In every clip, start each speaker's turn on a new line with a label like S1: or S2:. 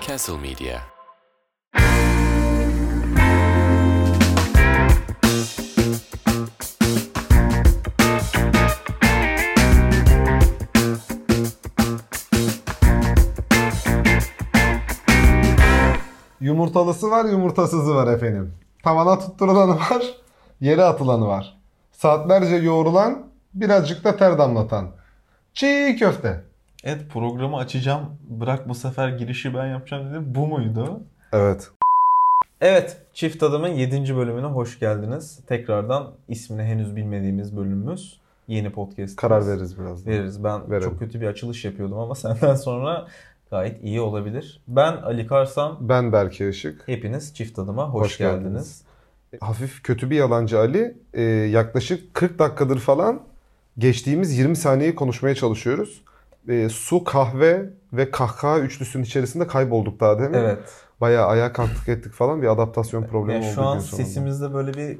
S1: Castle Media.
S2: Yumurtalısı var, yumurtasızı var efendim. Tavana tutturulanı var, yere atılanı var. Saatlerce yoğrulan, birazcık da ter damlatan. Çiğ köfte.
S3: Evet programı açacağım. Bırak bu sefer girişi ben yapacağım dedim. Bu muydu?
S2: Evet.
S3: Evet, Çift Adam'ın 7. bölümüne hoş geldiniz. Tekrardan ismini henüz bilmediğimiz bölümümüz. Yeni podcast.
S2: Karar veririz birazdan.
S3: Veririz. Ben
S2: Verelim.
S3: çok kötü bir açılış yapıyordum ama senden sonra gayet iyi olabilir. Ben Ali Karsam.
S2: Ben Berke Işık.
S3: Hepiniz Çift Adam'a hoş,
S2: Hoş
S3: geldiniz.
S2: geldiniz. Hafif kötü bir yalancı Ali. Ee, yaklaşık 40 dakikadır falan geçtiğimiz 20 saniyeyi konuşmaya çalışıyoruz. Ee, su, kahve ve kahkaha üçlüsünün içerisinde kaybolduk daha değil mi?
S3: Evet.
S2: Bayağı ayağa kalktık ettik falan bir adaptasyon problemi
S3: Yani
S2: oldu.
S3: şu an
S2: gün sonunda.
S3: sesimizde böyle bir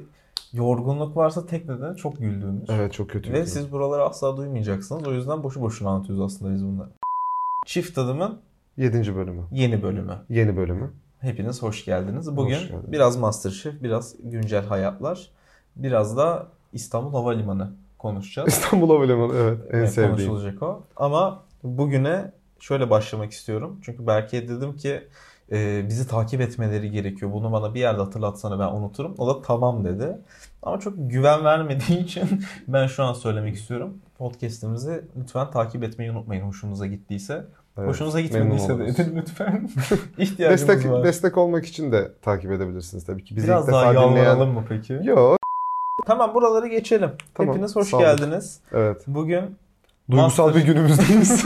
S3: yorgunluk varsa tek nedeni çok güldüğümüz.
S2: Evet çok kötü.
S3: Ve siz buraları asla duymayacaksınız. O yüzden boşu boşuna anlatıyoruz aslında biz bunları. Çift Adam'ın
S2: 7. bölümü.
S3: yeni bölümü.
S2: Yeni bölümü.
S3: Hepiniz hoş geldiniz. Bugün
S2: Hoş geldiniz.
S3: biraz Masterchef, biraz güncel hayatlar, biraz da İstanbul Havalimanı konuşacağız.
S2: İstanbul Havalimanı evet en
S3: Evet,
S2: sevdiğim.
S3: Konuşulacak o. Ama bugüne şöyle başlamak istiyorum. Çünkü Berke'ye dedim ki "E, bizi takip etmeleri gerekiyor. Bunu bana bir yerde hatırlatsana ben unuturum. O da tamam dedi. Ama çok güven vermediği için ben şu an söylemek istiyorum. Podcast'imizi lütfen takip etmeyi unutmayın hoşunuza gittiyse.
S2: Evet.
S3: Hoşunuza
S2: memnun
S3: gitmediyse de
S2: oluruz.
S3: edin lütfen. İhtiyacımız
S2: Destek,
S3: var.
S2: destek olmak için de takip edebilirsiniz tabii ki. Bizi
S3: Biraz
S2: ilk
S3: daha
S2: defa dinleyen...
S3: yalvaralım mı peki?
S2: Yo,
S3: Tamam buraları geçelim.
S2: Tamam,
S3: Hepiniz hoş
S2: sağ olun.
S3: geldiniz.
S2: evet.
S3: Bugün
S2: Duygusal
S3: Master-
S2: bir günümüzdeyiz.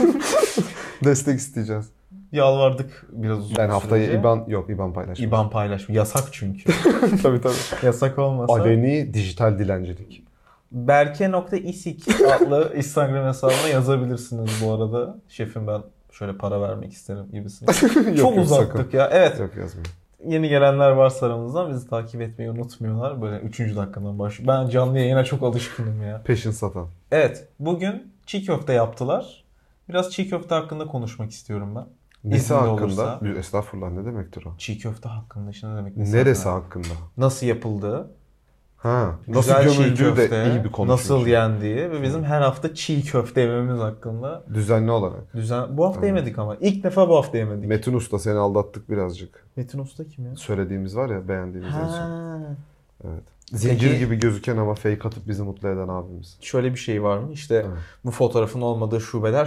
S2: destek isteyeceğiz.
S3: yalvardık biraz uzun
S2: Ben haftaya
S3: sürece.
S2: IBAN yok IBAN paylaşmam.
S3: İBAN paylaşma. Yasak çünkü.
S2: tabii tabii.
S3: Yasak olmasa.
S2: Aleni dijital dilencilik.
S3: Berke.isik adlı Instagram hesabına yazabilirsiniz bu arada. Şefim ben şöyle para vermek isterim gibisine.
S2: Yok,
S3: Çok
S2: yok,
S3: uzattık
S2: sakın.
S3: ya. Evet.
S2: Yok yazmayın.
S3: Yeni gelenler varsa aramızdan bizi takip etmeyi unutmuyorlar. Böyle 3. dakikadan baş. Ben canlı yayına çok alışkınım ya.
S2: Peşin satan.
S3: Evet. Bugün çiğ köfte yaptılar. Biraz çiğ köfte hakkında konuşmak istiyorum ben. İzin
S2: Nisa hakkında.
S3: olursa.
S2: Estağfurullah ne demektir o?
S3: Çiğ köfte hakkında işte ne demek? mesela?
S2: Neresi hakkında?
S3: Nasıl yapıldığı,
S2: Ha. Nasıl
S3: güzel çiğ
S2: gömüldüğü
S3: köfte,
S2: de iyi bir konu.
S3: nasıl
S2: çünkü.
S3: yendiği ve bizim her hafta çiğ köfte yememiz hakkında
S2: Düzenli olarak.
S3: düzen... Bu hafta
S2: Aynen.
S3: yemedik ama. ilk defa bu hafta yemedik.
S2: Metin Usta seni aldattık birazcık.
S3: Metin Usta kim ya?
S2: söylediğimiz var ya beğendiğimiz en son.
S3: Ha.
S2: Evet. Zincir
S3: Peki-
S2: gibi gözüken ama fake atıp bizi mutlu eden abimiz.
S3: Şöyle bir şey var mı? İşte
S2: Evet.
S3: bu fotoğrafın olmadığı şubeler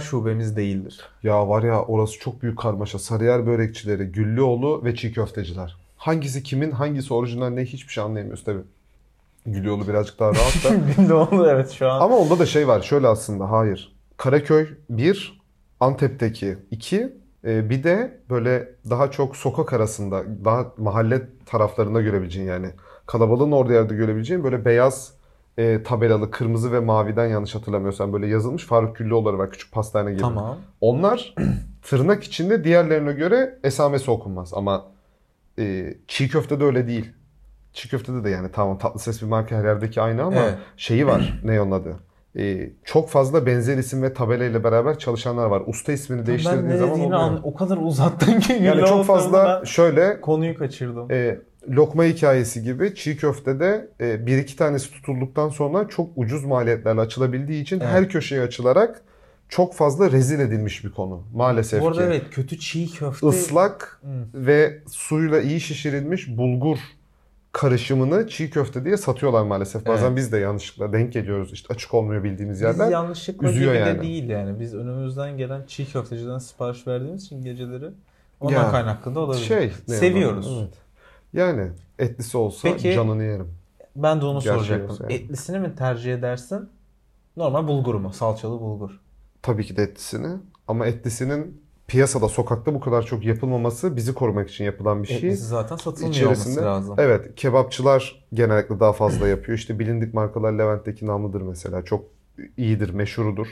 S3: şubemiz değildir.
S2: Ya var ya orası çok büyük karmaşa. Sarıyer börekçileri, Güllüoğlu ve çiğ köfteciler. Hangisi kimin, hangisi orijinal ne hiçbir şey anlayamıyoruz tabii. Güllüoğlu birazcık daha rahat da.
S3: ne oldu? Evet şu an.
S2: ama onda da şey var şöyle aslında hayır. Karaköy 1, Antep'teki 2, bir de böyle daha çok sokak arasında, daha mahalle taraflarında görebileceğin yani kalabalığın orada yerde görebileceğin böyle beyaz e, tabelalı kırmızı ve maviden yanlış hatırlamıyorsam böyle yazılmış Faruk Güllüoğlu'ları var küçük pastane gibi.
S3: Tamam.
S2: Onlar tırnak içinde diğerlerine göre esamesi okunmaz ama e, çiğ köfte de öyle değil. Çiğ köftede de yani tamam tatlı ses bir marka her yerdeki aynı ama
S3: Evet.
S2: şeyi var ne onun adı. E, çok fazla benzer isim ve tabelayla beraber çalışanlar var. Usta ismini
S3: ben
S2: değiştirdiğin
S3: ne
S2: zaman
S3: dediğini
S2: oluyor.
S3: an... o kadar uzattın ki.
S2: Yani
S3: Güllü
S2: çok fazla
S3: Ortamı'na
S2: şöyle
S3: konuyu kaçırdım.
S2: e, lokma hikayesi gibi çiğ köftede e, bir iki tanesi tutulduktan sonra çok ucuz maliyetlerle açılabildiği için
S3: Evet.
S2: her köşeye açılarak çok fazla rezil edilmiş bir konu maalesef
S3: Bu arada
S2: ki.
S3: evet kötü çiğ köfte. Hmm.
S2: Islak
S3: Hı.
S2: ve suyla iyi şişirilmiş bulgur karışımını çiğ köfte diye satıyorlar maalesef. Bazen
S3: Evet.
S2: biz de yanlışlıkla denk geliyoruz işte açık olmuyor bildiğimiz
S3: Biz
S2: yerden.
S3: yanlışlıkla
S2: üzüyor
S3: gibi de
S2: yani.
S3: değil yani. Biz önümüzden gelen çiğ köfteciden sipariş verdiğimiz için geceleri ondan
S2: Ya,
S3: kaynaklı da olabilir.
S2: Şey ne
S3: Seviyoruz.
S2: yapalım? Evet. Yani etlisi olsa
S3: Peki-
S2: canını yerim.
S3: Ben de onu
S2: Gerçeği
S3: soracaktım.
S2: yoksa yani.
S3: Etlisini mi tercih edersin? Normal bulgur mu? Salçalı bulgur.
S2: Tabii ki de etlisini ama etlisinin piyasada sokakta bu kadar çok yapılmaması bizi korumak için yapılan bir şey.
S3: Etlisi zaten satılmıyor
S2: içerisinde-
S3: olması lazım.
S2: Evet, kebapçılar genellikle daha fazla yapıyor. İşte bilindik markalar Levent'teki namlıdır mesela. Çok iyidir, meşhurudur.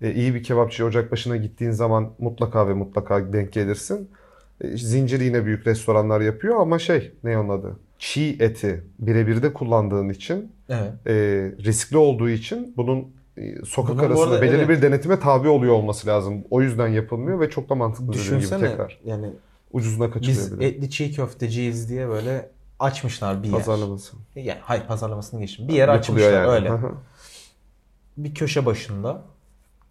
S2: E, iyi bir kebapçıya ocak başına gittiğin zaman mutlaka ve mutlaka denk gelirsin. E, zincir yine büyük restoranlar yapıyor ama şey, ne onun adı? Çiğ eti birebir de kullandığın için,
S3: Evet.
S2: e, riskli olduğu için bunun e, sokak
S3: Bunun bu
S2: arasında
S3: arada
S2: belirli
S3: evet.
S2: bir denetime tabi oluyor olması lazım. O yüzden yapılmıyor ve çok da mantıklı dediğim gibi
S3: Düşünsene
S2: tekrar.
S3: yani
S2: Ucuzuna kaçırıyor
S3: biz
S2: bir de.
S3: etli çiğ köfteciyiz diye böyle açmışlar bir yer.
S2: Pazarlaması.
S3: Yani hayır pazarlamasını geçtim. Bir yer
S2: Yapılıyor
S3: açmışlar
S2: yani.
S3: öyle.
S2: Hı hı.
S3: Bir köşe başında.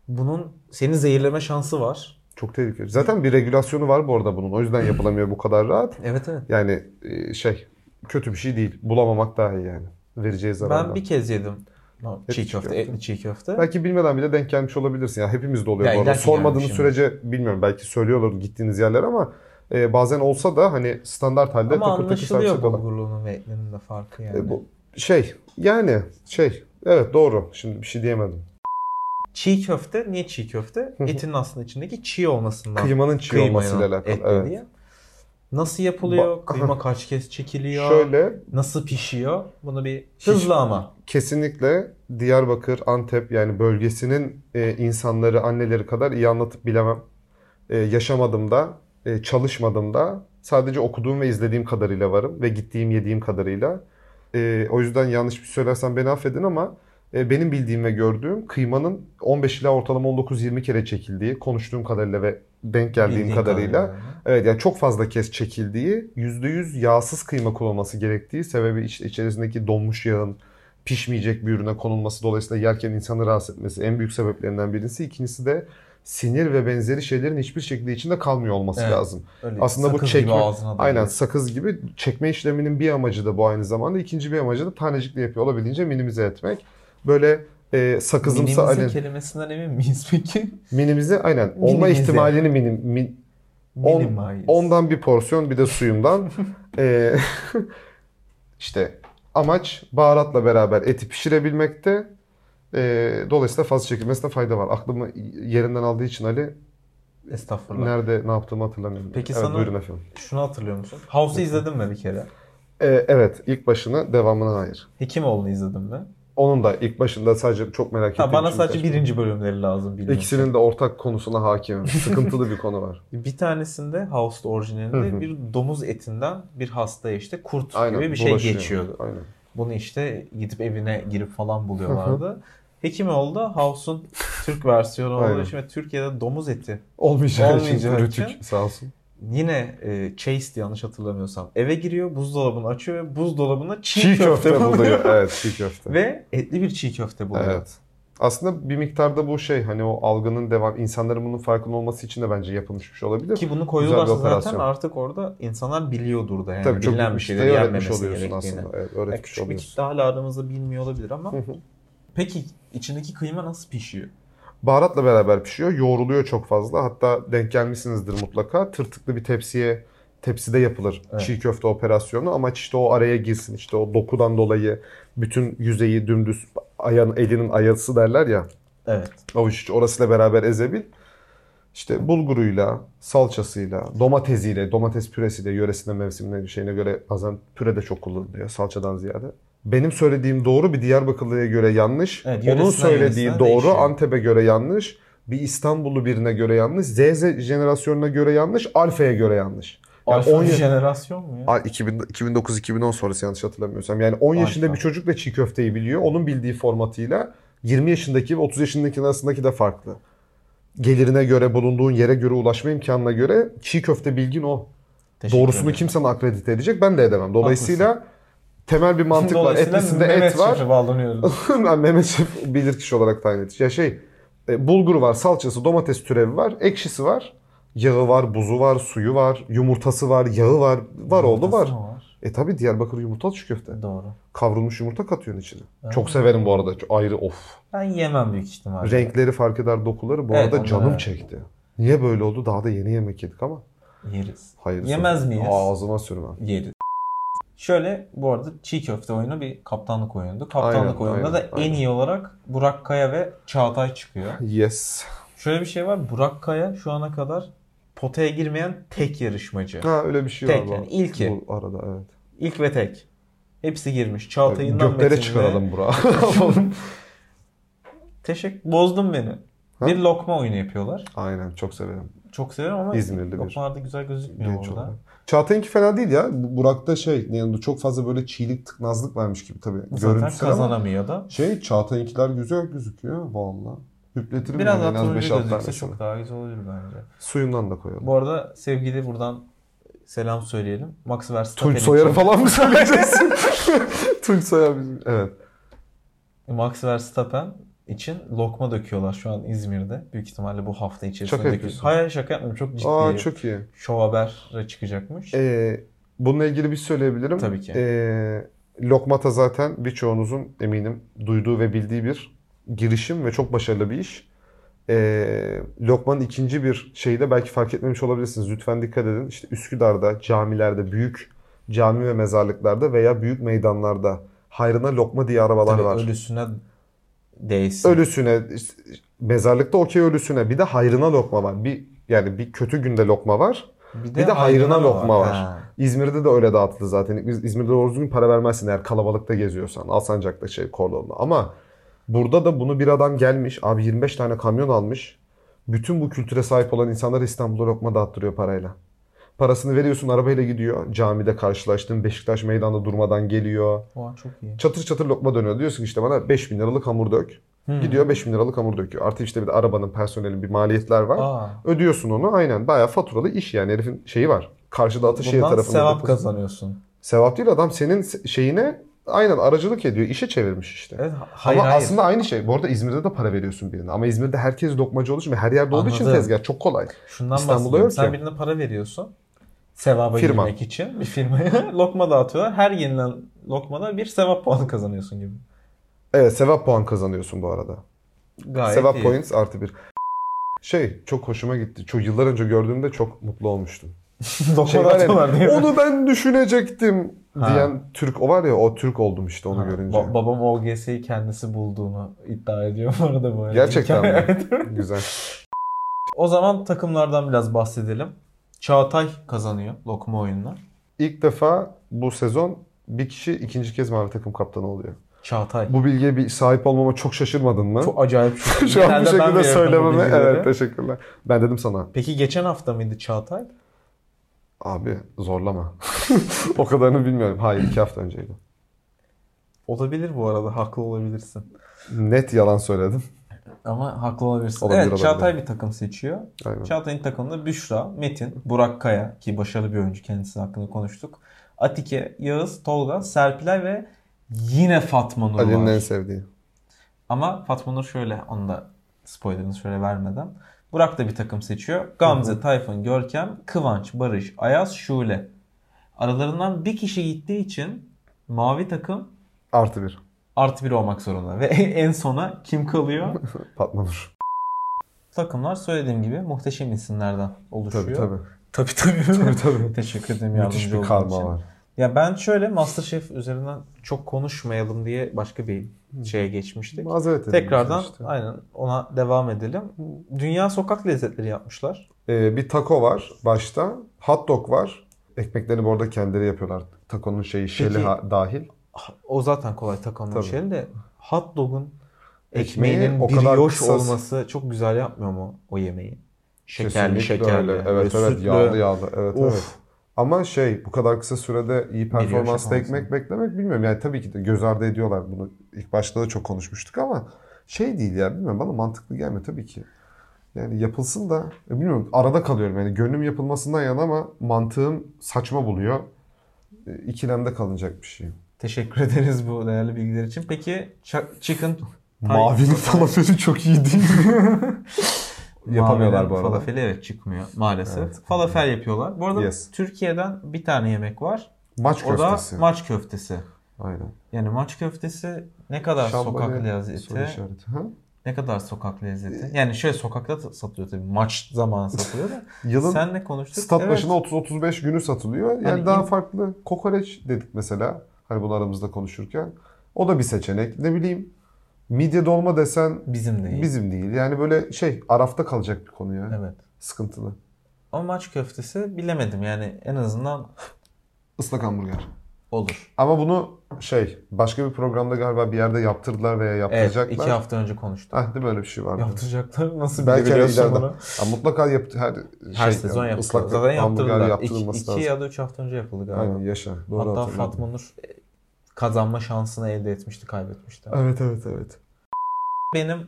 S3: Bunun seni zehirleme şansı var.
S2: Çok tehlikeli. Zaten bir regülasyonu var bu arada bunun. O yüzden yapılamıyor bu kadar rahat.
S3: Evet evet.
S2: Yani e, şey kötü bir şey değil. Bulamamak daha iyi yani. Vereceği zarardan.
S3: Ben bir kez yedim. No,
S2: Etli
S3: çiğ
S2: çiğ
S3: köfte,
S2: köfte.
S3: etli çiğ köfte.
S2: Belki bilmeden bile denk gelmiş olabilirsin. Yani hepimizde oluyor bu
S3: Ya illa
S2: arada.
S3: ki
S2: Sormadığınız
S3: gelmişim.
S2: sürece bilmiyorum. Belki söylüyorlar gittiğiniz yerler ama e, bazen olsa da hani standart halde
S3: Ama
S2: takır takır servis
S3: anlaşılıyor
S2: ediyorlar.
S3: bulgurluğunun ve etlinin de farkı yani.
S2: E, bu şey yani şey evet doğru. Şimdi bir şey diyemedim.
S3: Çiğ köfte, niye çiğ köfte?
S2: hı.
S3: Etinin aslında içindeki çiğ olmasından.
S2: Kıymanın çiğ
S3: kıymayla
S2: olmasıyla alakalı.
S3: etli
S2: Evet.
S3: diye. Nasıl yapılıyor?
S2: Ba-
S3: Kıyma kaç kez çekiliyor?
S2: Şöyle
S3: Nasıl pişiyor? Bunu bir hızlı ama.
S2: kesinlikle Diyarbakır, Antep yani bölgesinin e, insanları, anneleri kadar iyi anlatıp bilemem. E, yaşamadım da, e, çalışmadım da. Sadece okuduğum ve izlediğim kadarıyla varım ve gittiğim, yediğim kadarıyla. E, o yüzden yanlış bir şey söylersem beni affedin ama e, benim bildiğim ve gördüğüm kıymanın 15 ila ortalama 19-20 kere çekildiği, konuştuğum kadarıyla ve denk geldiğim
S3: bildiğin
S2: kadarıyla.
S3: yani.
S2: Evet yani çok fazla kez çekildiği, %100 yağsız kıyma kullanılması gerektiği sebebi işte içerisindeki donmuş yağın pişmeyecek bir ürüne konulması dolayısıyla yerken insanı rahatsız etmesi en büyük sebeplerinden birisi. İkincisi de sinir ve benzeri şeylerin hiçbir şekilde içinde kalmıyor olması
S3: Evet.
S2: lazım.
S3: Öyle
S2: Aslında bu
S3: sakız
S2: çekme-
S3: gibi ağzına doğru.
S2: Aynen sakız gibi çekme işleminin bir amacı da bu aynı zamanda. ikinci bir amacı da tanecikli yapıyor olabildiğince minimize etmek. Böyle e,
S3: Minimizin
S2: sakızımsı alin,
S3: kelimesinden emin miyiz peki?
S2: minimize aynen olma
S3: Minimize.
S2: ihtimalini minim, min- On-
S3: Minimayız.
S2: Ondan bir porsiyon bir de suyumdan. Ee, işte amaç baharatla beraber eti pişirebilmekte. Ee, dolayısıyla fazla çekilmesine fayda var. Aklımı yerinden aldığı için Ali
S3: Estağfurullah.
S2: nerede ne yaptığımı hatırlamıyorum.
S3: Peki
S2: evet,
S3: sana-
S2: buyurun efendim.
S3: Şunu hatırlıyor musun? House'u izledin mi bir kere?
S2: Ee, evet ilk başını devamına hayır.
S3: Hekimoğlu'nu izledin mi?
S2: Onun da ilk başında sadece çok merak ettiğim
S3: Ha, bana
S2: için
S3: sadece
S2: birkaç-
S3: birinci bölümleri lazım bilmek için.
S2: İkisinin de ortak konusuna hakimim. Sıkıntılı bir konu var.
S3: Bir tanesinde House'da
S2: Hı
S3: orijinalinde
S2: hı.
S3: bir domuz etinden bir hastaya işte kurt
S2: Aynen.
S3: gibi bir şey
S2: dolaşıyor.
S3: geçiyordu.
S2: Aynen.
S3: Bunu işte gidip evine girip falan buluyorlardı. Hekimoğlu da House'un Türk versiyonu olduğu
S2: Aynen.
S3: için ve Türkiye'de domuz eti
S2: Olmayacağı
S3: Olmayacağı
S2: için
S3: için.
S2: rütük sağ olsun.
S3: yine e, Chase'di yanlış hatırlamıyorsam. Eve giriyor, buzdolabını açıyor ve buzdolabına çiğ,
S2: Çiğ
S3: köfte,
S2: köfte buluyor.
S3: buluyor.
S2: Evet çiğ köfte.
S3: ve etli bir çiğ köfte buluyor.
S2: Evet. Aslında bir miktarda bu şey hani o algının devam insanların bunun farkında olması için de bence yapılmış bir şey olabilir.
S3: Ki bunu
S2: Güzel
S3: koyuyorlarsa
S2: bir
S3: zaten
S2: operasyon.
S3: artık orada insanlar biliyordur da yani
S2: Tabii çok
S3: bilinen
S2: büyük
S3: bir
S2: bir
S3: şeyleri
S2: kitleyi öğretmiş
S3: yenmemesi
S2: oluyorsun
S3: gerektiğini.
S2: aslında. Evet,
S3: Yani
S2: öğretmiş
S3: küçük bir
S2: oluyorsun.
S3: kitle hala aramızda bilmiyor olabilir ama
S2: Hı hı.
S3: peki içindeki kıyma nasıl pişiyor?
S2: Baharatla beraber pişiyor. Yoğruluyor çok fazla. Hatta denk gelmişsinizdir mutlaka. Tırtıklı bir tepsiye tepside yapılır
S3: Evet.
S2: çiğ köfte operasyonu. Amaç işte o araya girsin. işte o dokudan dolayı bütün yüzeyi dümdüz ayağın, elinin ayası derler ya.
S3: Evet.
S2: Avuç içi orasıyla beraber ezebil. İşte bulguruyla, salçasıyla, domatesiyle, domates püresiyle, yöresine mevsimine şeyine göre bazen püre de çok kullanılıyor salçadan ziyade. Benim söylediğim doğru bir Diyarbakırlı'ya göre yanlış.
S3: Evet,
S2: Onun
S3: yöresinden
S2: söylediği
S3: yöresine
S2: doğru
S3: değişiyor.
S2: Antep'e göre yanlış. Bir İstanbullu birine göre yanlış. Z jenerasyonuna göre yanlış. Alfa'ya göre yanlış. Yani
S3: Alfa
S2: 10
S3: bir
S2: ya-
S3: jenerasyon mu ya?
S2: Ay, 2000 2009-2010 sonrası yanlış hatırlamıyorsam. Yani 10 yaşında
S3: Alfa.
S2: bir çocuk da çiğ köfteyi biliyor. Onun bildiği formatıyla 20 yaşındaki ve 30 yaşındakinin arasındaki de farklı. Gelirine göre, bulunduğun yere göre, ulaşma imkanına göre çiğ köfte bilgin o.
S3: Teşekkür
S2: Doğrusunu
S3: ederim.
S2: kimse akredite edecek? Ben de edemem. Dolayısıyla temel bir mantık var.
S3: Dolayısıyla
S2: Etlisinde
S3: Mehmet
S2: et var.
S3: Şef'e bağlanıyoruz.
S2: Ben Mehmet Şef bilirkişi olarak tayin edeceğim. Ya şey, e, bulguru var, salçası, domates türevi var, ekşisi var. Yağı var, buzu var, suyu var, yumurtası var, yağı var. Var oğlu var.
S3: Yumurtası mı var?
S2: E tabi Diyarbakır yumurtalı çiğ köfte.
S3: Doğru.
S2: Kavrulmuş yumurta katıyorsun içine.
S3: Evet.
S2: Çok severim bu arada. Çok Ayrı of.
S3: Ben yemem büyük ihtimalle.
S2: Renkleri fark eder dokuları. Bu
S3: Evet,
S2: arada
S3: onlar
S2: canım
S3: evet.
S2: çekti. Niye böyle oldu? Daha da yeni yemek yedik ama.
S3: Yeriz.
S2: Hayır.
S3: Yemez miyiz?
S2: Ağzıma sürmem.
S3: Yeriz. Şöyle bu arada çiğ köfte oyunu bir kaptanlık oyundu. Kaptanlık
S2: Aynen,
S3: oyununda
S2: aynen,
S3: da en
S2: aynen.
S3: iyi olarak Burak Kaya ve Çağatay çıkıyor.
S2: Yes.
S3: Şöyle bir şey var. Burak Kaya şu ana kadar potaya girmeyen tek yarışmacı.
S2: Ha öyle bir şey
S3: Tek
S2: var bu.
S3: yani, ilki.
S2: Bu arada evet.
S3: İlk ve tek. Hepsi girmiş. Çağatay'ından
S2: Göklere
S3: Metin'le-
S2: çıkaralım bura.
S3: Teşekkür. Bozdun beni.
S2: Ha?
S3: Bir lokma oyunu yapıyorlar.
S2: Aynen çok severim.
S3: Çok severim ama
S2: İzmirli bir
S3: lokmalarda güzel gözükmüyor
S2: Genç
S3: orada.
S2: olarak. Çağatay'ınki fena değil ya. Bu- Burak'ta şey yani çok fazla böyle çiğlik tıknazlık vermiş gibi tabii.
S3: Zaten
S2: Görüntüsel ama
S3: kazanamıyor da.
S2: şey Çağatay'ınkiler güzel gözüküyor valla. Hüpletirim
S3: Biraz
S2: yani en
S3: daha
S2: az
S3: turuncu
S2: 5-6
S3: gözükse
S2: tanesini.
S3: çok daha güzel olur bence.
S2: Suyundan da koyalım.
S3: Bu arada sevgili buradan selam söyleyelim. Max Verstappen
S2: Tunç Soyer'ı
S3: için.
S2: falan mı söyleyeceksin? Tunç Soyer bizim. Evet.
S3: Max Verstappen için lokma döküyorlar şu an İzmir'de. Büyük ihtimalle bu hafta içerisinde
S2: Şaka
S3: döküyor.
S2: yapıyorsun.
S3: Hayır şaka yapmıyorum. Çok ciddi.
S2: Aa çok iyi.
S3: Şov habere çıkacakmış.
S2: Ee, bununla ilgili bir şey söyleyebilirim.
S3: Tabii ki.
S2: Ee, Lokmata zaten birçoğunuzun eminim duyduğu ve bildiği bir girişim ve çok başarılı bir iş. Ee, Lokman'ın ikinci bir şeyi de belki fark etmemiş olabilirsiniz. Lütfen dikkat edin. İşte Üsküdar'da, camilerde, büyük cami ve mezarlıklarda veya büyük meydanlarda hayrına lokma diye arabalar
S3: Tabii
S2: var.
S3: ölüsüne değsin.
S2: Ölüsüne, işte mezarlıkta okey ölüsüne bir de hayrına lokma var. Bir yani bir kötü günde lokma var.
S3: Bir
S2: de hayrına
S3: da
S2: lokma var.
S3: Ha.
S2: İzmir'de de öyle dağıtıldı zaten. Biz İzmir'de doğru düzgün para vermezsin eğer kalabalıkta geziyorsan. Alsancak'ta şey Kordon'da. Ama burada da bunu bir adam gelmiş. Abi 25 tane kamyon almış. Bütün bu kültüre sahip olan insanlar İstanbul'a lokma dağıttırıyor parayla. Parasını veriyorsun arabayla gidiyor. Camide karşılaştın. Beşiktaş meydanda durmadan geliyor.
S3: Oha, çok iyi.
S2: Çatır çatır lokma dönüyor. Diyorsun ki işte bana 5000 liralık hamur dök.
S3: Hmm.
S2: Gidiyor 5000 liralık hamur döküyor. Artı işte bir de arabanın personelin bir maliyetler var.
S3: Aa,
S2: Ödüyorsun onu aynen. Bayağı faturalı iş yani herifin şeyi var. Karşıda Ataşehir
S3: bundan
S2: şey tarafında.
S3: sevap
S2: deposu-
S3: kazanıyorsun.
S2: Sevap değil adam senin se- şeyine aynen aracılık ediyor. işe çevirmiş işte.
S3: Evet, ha- hayır
S2: ama
S3: hayır.
S2: aslında aynı şey. Bu arada İzmir'de de para veriyorsun birine. Ama İzmir'de herkes lokmacı olduğu için ve her yerde olduğu için
S3: Anladım.
S2: tezgah çok kolay.
S3: Şundan
S2: İstanbul'da
S3: bahsediyorum.
S2: yok
S3: Sen
S2: ya.
S3: birine para veriyorsun. Sevaba
S2: Firma.
S3: girmek için bir firmaya lokma dağıtıyorlar. Her yenilen lokmada bir sevap puanı kazanıyorsun gibi.
S2: Evet sevap puan kazanıyorsun bu arada.
S3: Gayet
S2: sevap
S3: iyi.
S2: points artı bir. Şey çok hoşuma gitti. Çok yıllar önce gördüğümde çok mutlu olmuştum.
S3: lokma
S2: Şey var ya,
S3: dağıtıyorlar değil mi?
S2: onu ben düşünecektim
S3: Ha.
S2: diyen Türk o var ya o Türk oldum işte onu
S3: Ha,
S2: görünce.
S3: ba- babam OGS'yi kendisi bulduğunu iddia ediyor bu arada bu arada.
S2: Gerçekten mi?
S3: Evet.
S2: Güzel.
S3: O zaman takımlardan biraz bahsedelim. Çağatay kazanıyor lokma oyununu.
S2: İlk defa bu sezon bir kişi ikinci kez mavi takım kaptanı oluyor.
S3: Çağatay.
S2: Bu bilgiye bir sahip olmama çok şaşırmadın mı?
S3: Çok acayip bir şey.
S2: Şu an
S3: Genelde
S2: bu şekilde
S3: ben veriyorum bu
S2: söylememe.
S3: bilgileri.
S2: Evet teşekkürler. Ben dedim sana
S3: Peki geçen hafta mıydı Çağatay?
S2: abi zorlama. o kadarını bilmiyorum. Hayır iki hafta önceydi.
S3: Olabilir bu arada. Haklı olabilirsin.
S2: Net yalan söyledim.
S3: Ama haklı olabilirsin.
S2: Olabilir,
S3: evet
S2: olabilir.
S3: Çağatay bir takım seçiyor.
S2: Aynen.
S3: Çağatay'ın takımında Büşra, Metin, Burak Kaya ki başarılı bir oyuncu kendisi hakkında konuştuk. Atike, Yağız, Tolga, Serpilay ve yine Fatma Nur
S2: Ali'nin en
S3: var.
S2: sevdiği.
S3: Ama Fatma Nur şöyle onu da spoilerını şöyle vermeden. Burak da bir takım seçiyor. Gamze, Tayfun, Görkem, Kıvanç, Barış, Ayaz, Şule. Aralarından bir kişi gittiği için mavi takım
S2: Artı bir.
S3: artı bir olmak zorunda. Ve en sona kim kalıyor?
S2: Fatma Nur.
S3: Takımlar söylediğim gibi muhteşem isimlerden oluşuyor.
S2: Tabii tabii.
S3: Tabii tabii.
S2: Tabii, tabii.
S3: Teşekkür ederim yardımcı
S2: Müthiş bir
S3: olduğun
S2: karma
S3: için.
S2: var.
S3: Ya ben şöyle Masterchef üzerinden çok konuşmayalım diye başka bir şeye geçmiştik.
S2: Mazeret edilmiş
S3: Tekrardan
S2: işte.
S3: aynen ona devam edelim. Dünya sokak lezzetleri yapmışlar.
S2: Ee, bir taco var başta. Hot dog var. Ekmeklerini bu arada kendileri yapıyorlar. Takonun şeyi şeli
S3: Peki-
S2: ha- dahil.
S3: O zaten kolay takanın
S2: Tabii.
S3: şeyi de hot dog'un
S2: Ekmeği
S3: ekmeğinin
S2: o
S3: o
S2: kadar
S3: brioş
S2: kısa-
S3: olması çok güzel yapmıyor mu o yemeği? Şekerli
S2: Kesinlikle
S3: şekerli.
S2: öyle.
S3: böyle
S2: Evet evet
S3: sütlü.
S2: yağlı yağlı. Evet
S3: Of.
S2: evet. Ama şey bu kadar kısa sürede iyi performansla
S3: yapamazsın.
S2: ekmek beklemek bilmiyorum. Yani tabii ki de göz ardı ediyorlar bunu. İlk başta da çok konuşmuştuk ama şey değil ya bilmiyorum bana mantıklı gelmiyor tabii ki. Yani yapılsın da e, bilmiyorum arada kalıyorum yani gönlüm yapılmasından yana ama mantığım saçma buluyor. E, İkilemde kalınacak bir şey.
S3: Teşekkür ederiz bu değerli bilgiler için. Peki ça- chicken Tay-
S2: Mavinin falafeli çok iyi değil. Yapamıyorlar
S3: Mavi'nin
S2: bu arada.
S3: Falafeli evet çıkmıyor maalesef.
S2: Evet.
S3: Falafel yapıyorlar. Bu arada
S2: Yes.
S3: Türkiye'den bir tane yemek var.
S2: Maç
S3: O da
S2: köftesi.
S3: maç köftesi.
S2: Aynen.
S3: Yani maç köftesi ne kadar sokak
S2: Şambali, soru
S3: lezzeti,
S2: işareti. Ha?
S3: ne kadar sokak lezzeti. Yani şöyle sokakta t- satılıyor tabii. Maç zamanı satılıyor da.
S2: Yılın
S3: Senle konuştuk.
S2: Stat
S3: Evet.
S2: başına 30-35 günü satılıyor. Yani
S3: Hani
S2: daha
S3: in-
S2: farklı. Kokoreç dedik mesela. Hani bunu aramızda konuşurken. O da bir seçenek. Ne bileyim midye dolma desen
S3: bizim değil.
S2: bizim değil. Yani böyle şey arafta kalacak bir konu ya.
S3: Evet.
S2: Sıkıntılı.
S3: Ama maç köftesi bilemedim yani en azından
S2: Islak hamburger.
S3: Olur.
S2: Ama bunu şey başka bir programda galiba bir yerde yaptırdılar veya
S3: Evet,
S2: yaptıracaklar.
S3: iki hafta önce konuştuk.
S2: Hah, değil mi öyle bir şey vardı?
S3: Yaptıracaklar nasıl
S2: Belki hani
S3: biliyorsun
S2: ileride.
S3: bunu?
S2: Ha, mutlaka yaptı her,
S3: Her
S2: şey,
S3: sezon yaptılar.
S2: ıslak
S3: Zaten
S2: hamburger
S3: yaptırdılar. İki,
S2: yaptırılması
S3: iki
S2: lazım.
S3: ya da üç hafta önce yapıldı galiba.
S2: Aynen yaşa. Doğru
S3: Hatta
S2: hatırladım.
S3: Fatma Nur e, kazanma şansını elde etmişti, kaybetmişti.
S2: Evet evet evet.
S3: Benim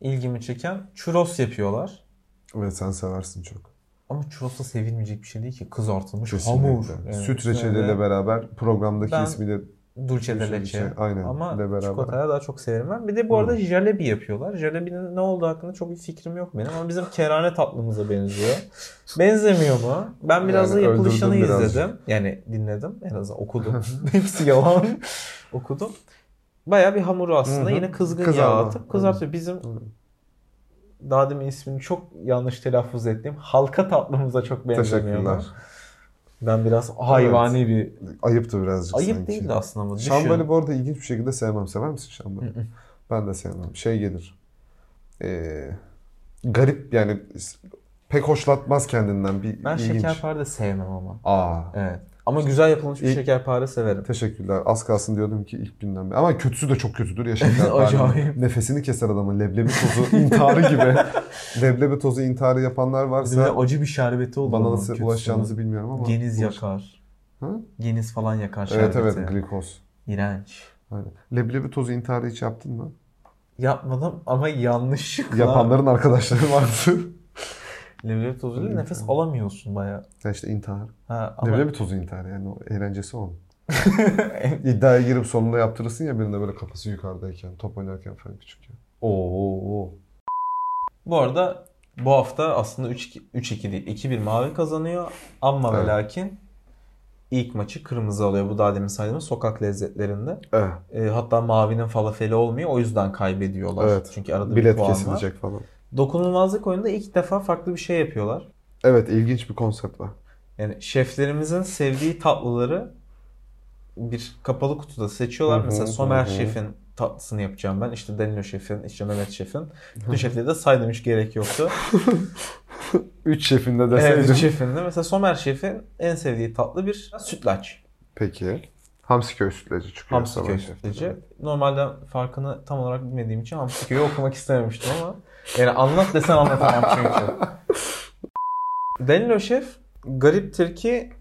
S3: ilgimi çeken churros yapıyorlar.
S2: Evet sen seversin çok.
S3: Ama churros'ta sevilmeyecek bir şey değil ki. Kızartılmış
S2: Kesinlikle.
S3: hamur. Evet.
S2: Süt reçeliyle
S3: Böyle
S2: beraber programdaki
S3: Ben-
S2: ismiyle
S3: Dulce de
S2: Dulce de
S3: leche.
S2: leche, aynen,
S3: Ama
S2: de beraber. Hmm.
S3: çikolataya daha çok severim ben. Bir de bu arada jalebi yapıyorlar. Jalebinin ne olduğu hakkında çok bir fikrim yok benim. Ama bizim kerane tatlımıza benziyor. Benzemiyor mu? Ben biraz
S2: Yani
S3: da yapılışını
S2: öldürdüm birazcık.
S3: izledim. Yani dinledim. En azından okudum. Hepsi yalan. okudum. Baya bir hamuru aslında.
S2: Hı hı.
S3: Yine kızgın
S2: Kızarma.
S3: yağ atıp kızartıyor. Bizim daha demin ismini çok yanlış telaffuz ettiğim halka tatlımıza çok benzemiyor.
S2: teşekkürler.
S3: Ben biraz hayvani bir
S2: Ayıptı birazcık
S3: Ayıp
S2: sanki.
S3: değil de aslında bu. Düşün.
S2: Şambali bu arada ilginç bir şekilde sevmem. Sever misin şambali? ben de sevmem. Şey gelir. Ee, garip yani pek hoşlatmaz kendinden. Bir
S3: Ben
S2: ilginç.
S3: şekerpare de sevmem ama.
S2: Aa.
S3: Evet. Ama güzel yapılmış bir
S2: İlk-
S3: şekerpare severim.
S2: Teşekkürler. Az kalsın diyordum ki ilk günden beri. Ama kötüsü de çok kötüdür ya şekerpare.
S3: Acayip.
S2: Nefesini keser adamın. Leblebi tozu intiharı gibi. Leblebi tozu intiharı yapanlar
S3: Bizim de
S2: varsa
S3: acı bir şerbeti oldu.
S2: bana
S3: onun
S2: nasıl
S3: kötüsü.
S2: ulaşacağınızı bilmiyorum ama.
S3: Geniz
S2: ulaş-
S3: yakar.
S2: Hı?
S3: Geniz falan yakar
S2: Evet
S3: şerbeti.
S2: evet glikoz.
S3: İğrenç.
S2: Aynen. Leblebi tozu intiharı hiç yaptın mı?
S3: Yapmadım ama yanlışlıkla.
S2: Yapanların arkadaşları vardı.
S3: Leblebi tozuyla
S2: Leblebi
S3: nefes
S2: tozu.
S3: alamıyorsun baya.
S2: ya işte intihar.
S3: Ha, ama
S2: Leblebi tozu intiharı yani o eğlencesi o. İddiaya girip sonunda yaptırırsın ya birinde böyle kafası yukarıdayken, top oynarken falan küçükken. Oo.
S3: Bu arada bu hafta aslında 3-2 3-2 değil. 2-1 mavi kazanıyor. Ama ve
S2: Evet.
S3: lakin ilk maçı kırmızı alıyor. Bu daha demin saydığımız sokak lezzetlerinde.
S2: Evet.
S3: E, hatta mavinin falafeli olmuyor. O yüzden kaybediyorlar.
S2: Evet.
S3: Çünkü arada bir
S2: Bilet
S3: puan var.
S2: kesilecek falan.
S3: Dokunulmazlık oyununda ilk defa farklı bir şey yapıyorlar.
S2: Evet ilginç bir konsept var.
S3: Yani şeflerimizin sevdiği tatlıları bir kapalı kutuda seçiyorlar.
S2: Hı hı,
S3: Mesela Somer
S2: hı hı.
S3: şefin tatlısını yapacağım ben. İşte Danilo şefin, işte Mehmet şefin. Bütün şefleri de saydım hiç gerek yoktu.
S2: Üç şefinde deseydim.
S3: evet, şefin de. Mesela Somer şefin en sevdiği tatlı bir sütlaç.
S2: Peki. Hamsi köy sütlacı çıkıyor.
S3: Hamsi
S2: sabah
S3: köy
S2: şeftali.
S3: sütlacı. Normalde farkını tam olarak bilmediğim için Hamsi köyü okumak istememiştim ama yani anlat desen anlatamam çünkü. Danilo Şef gariptir ki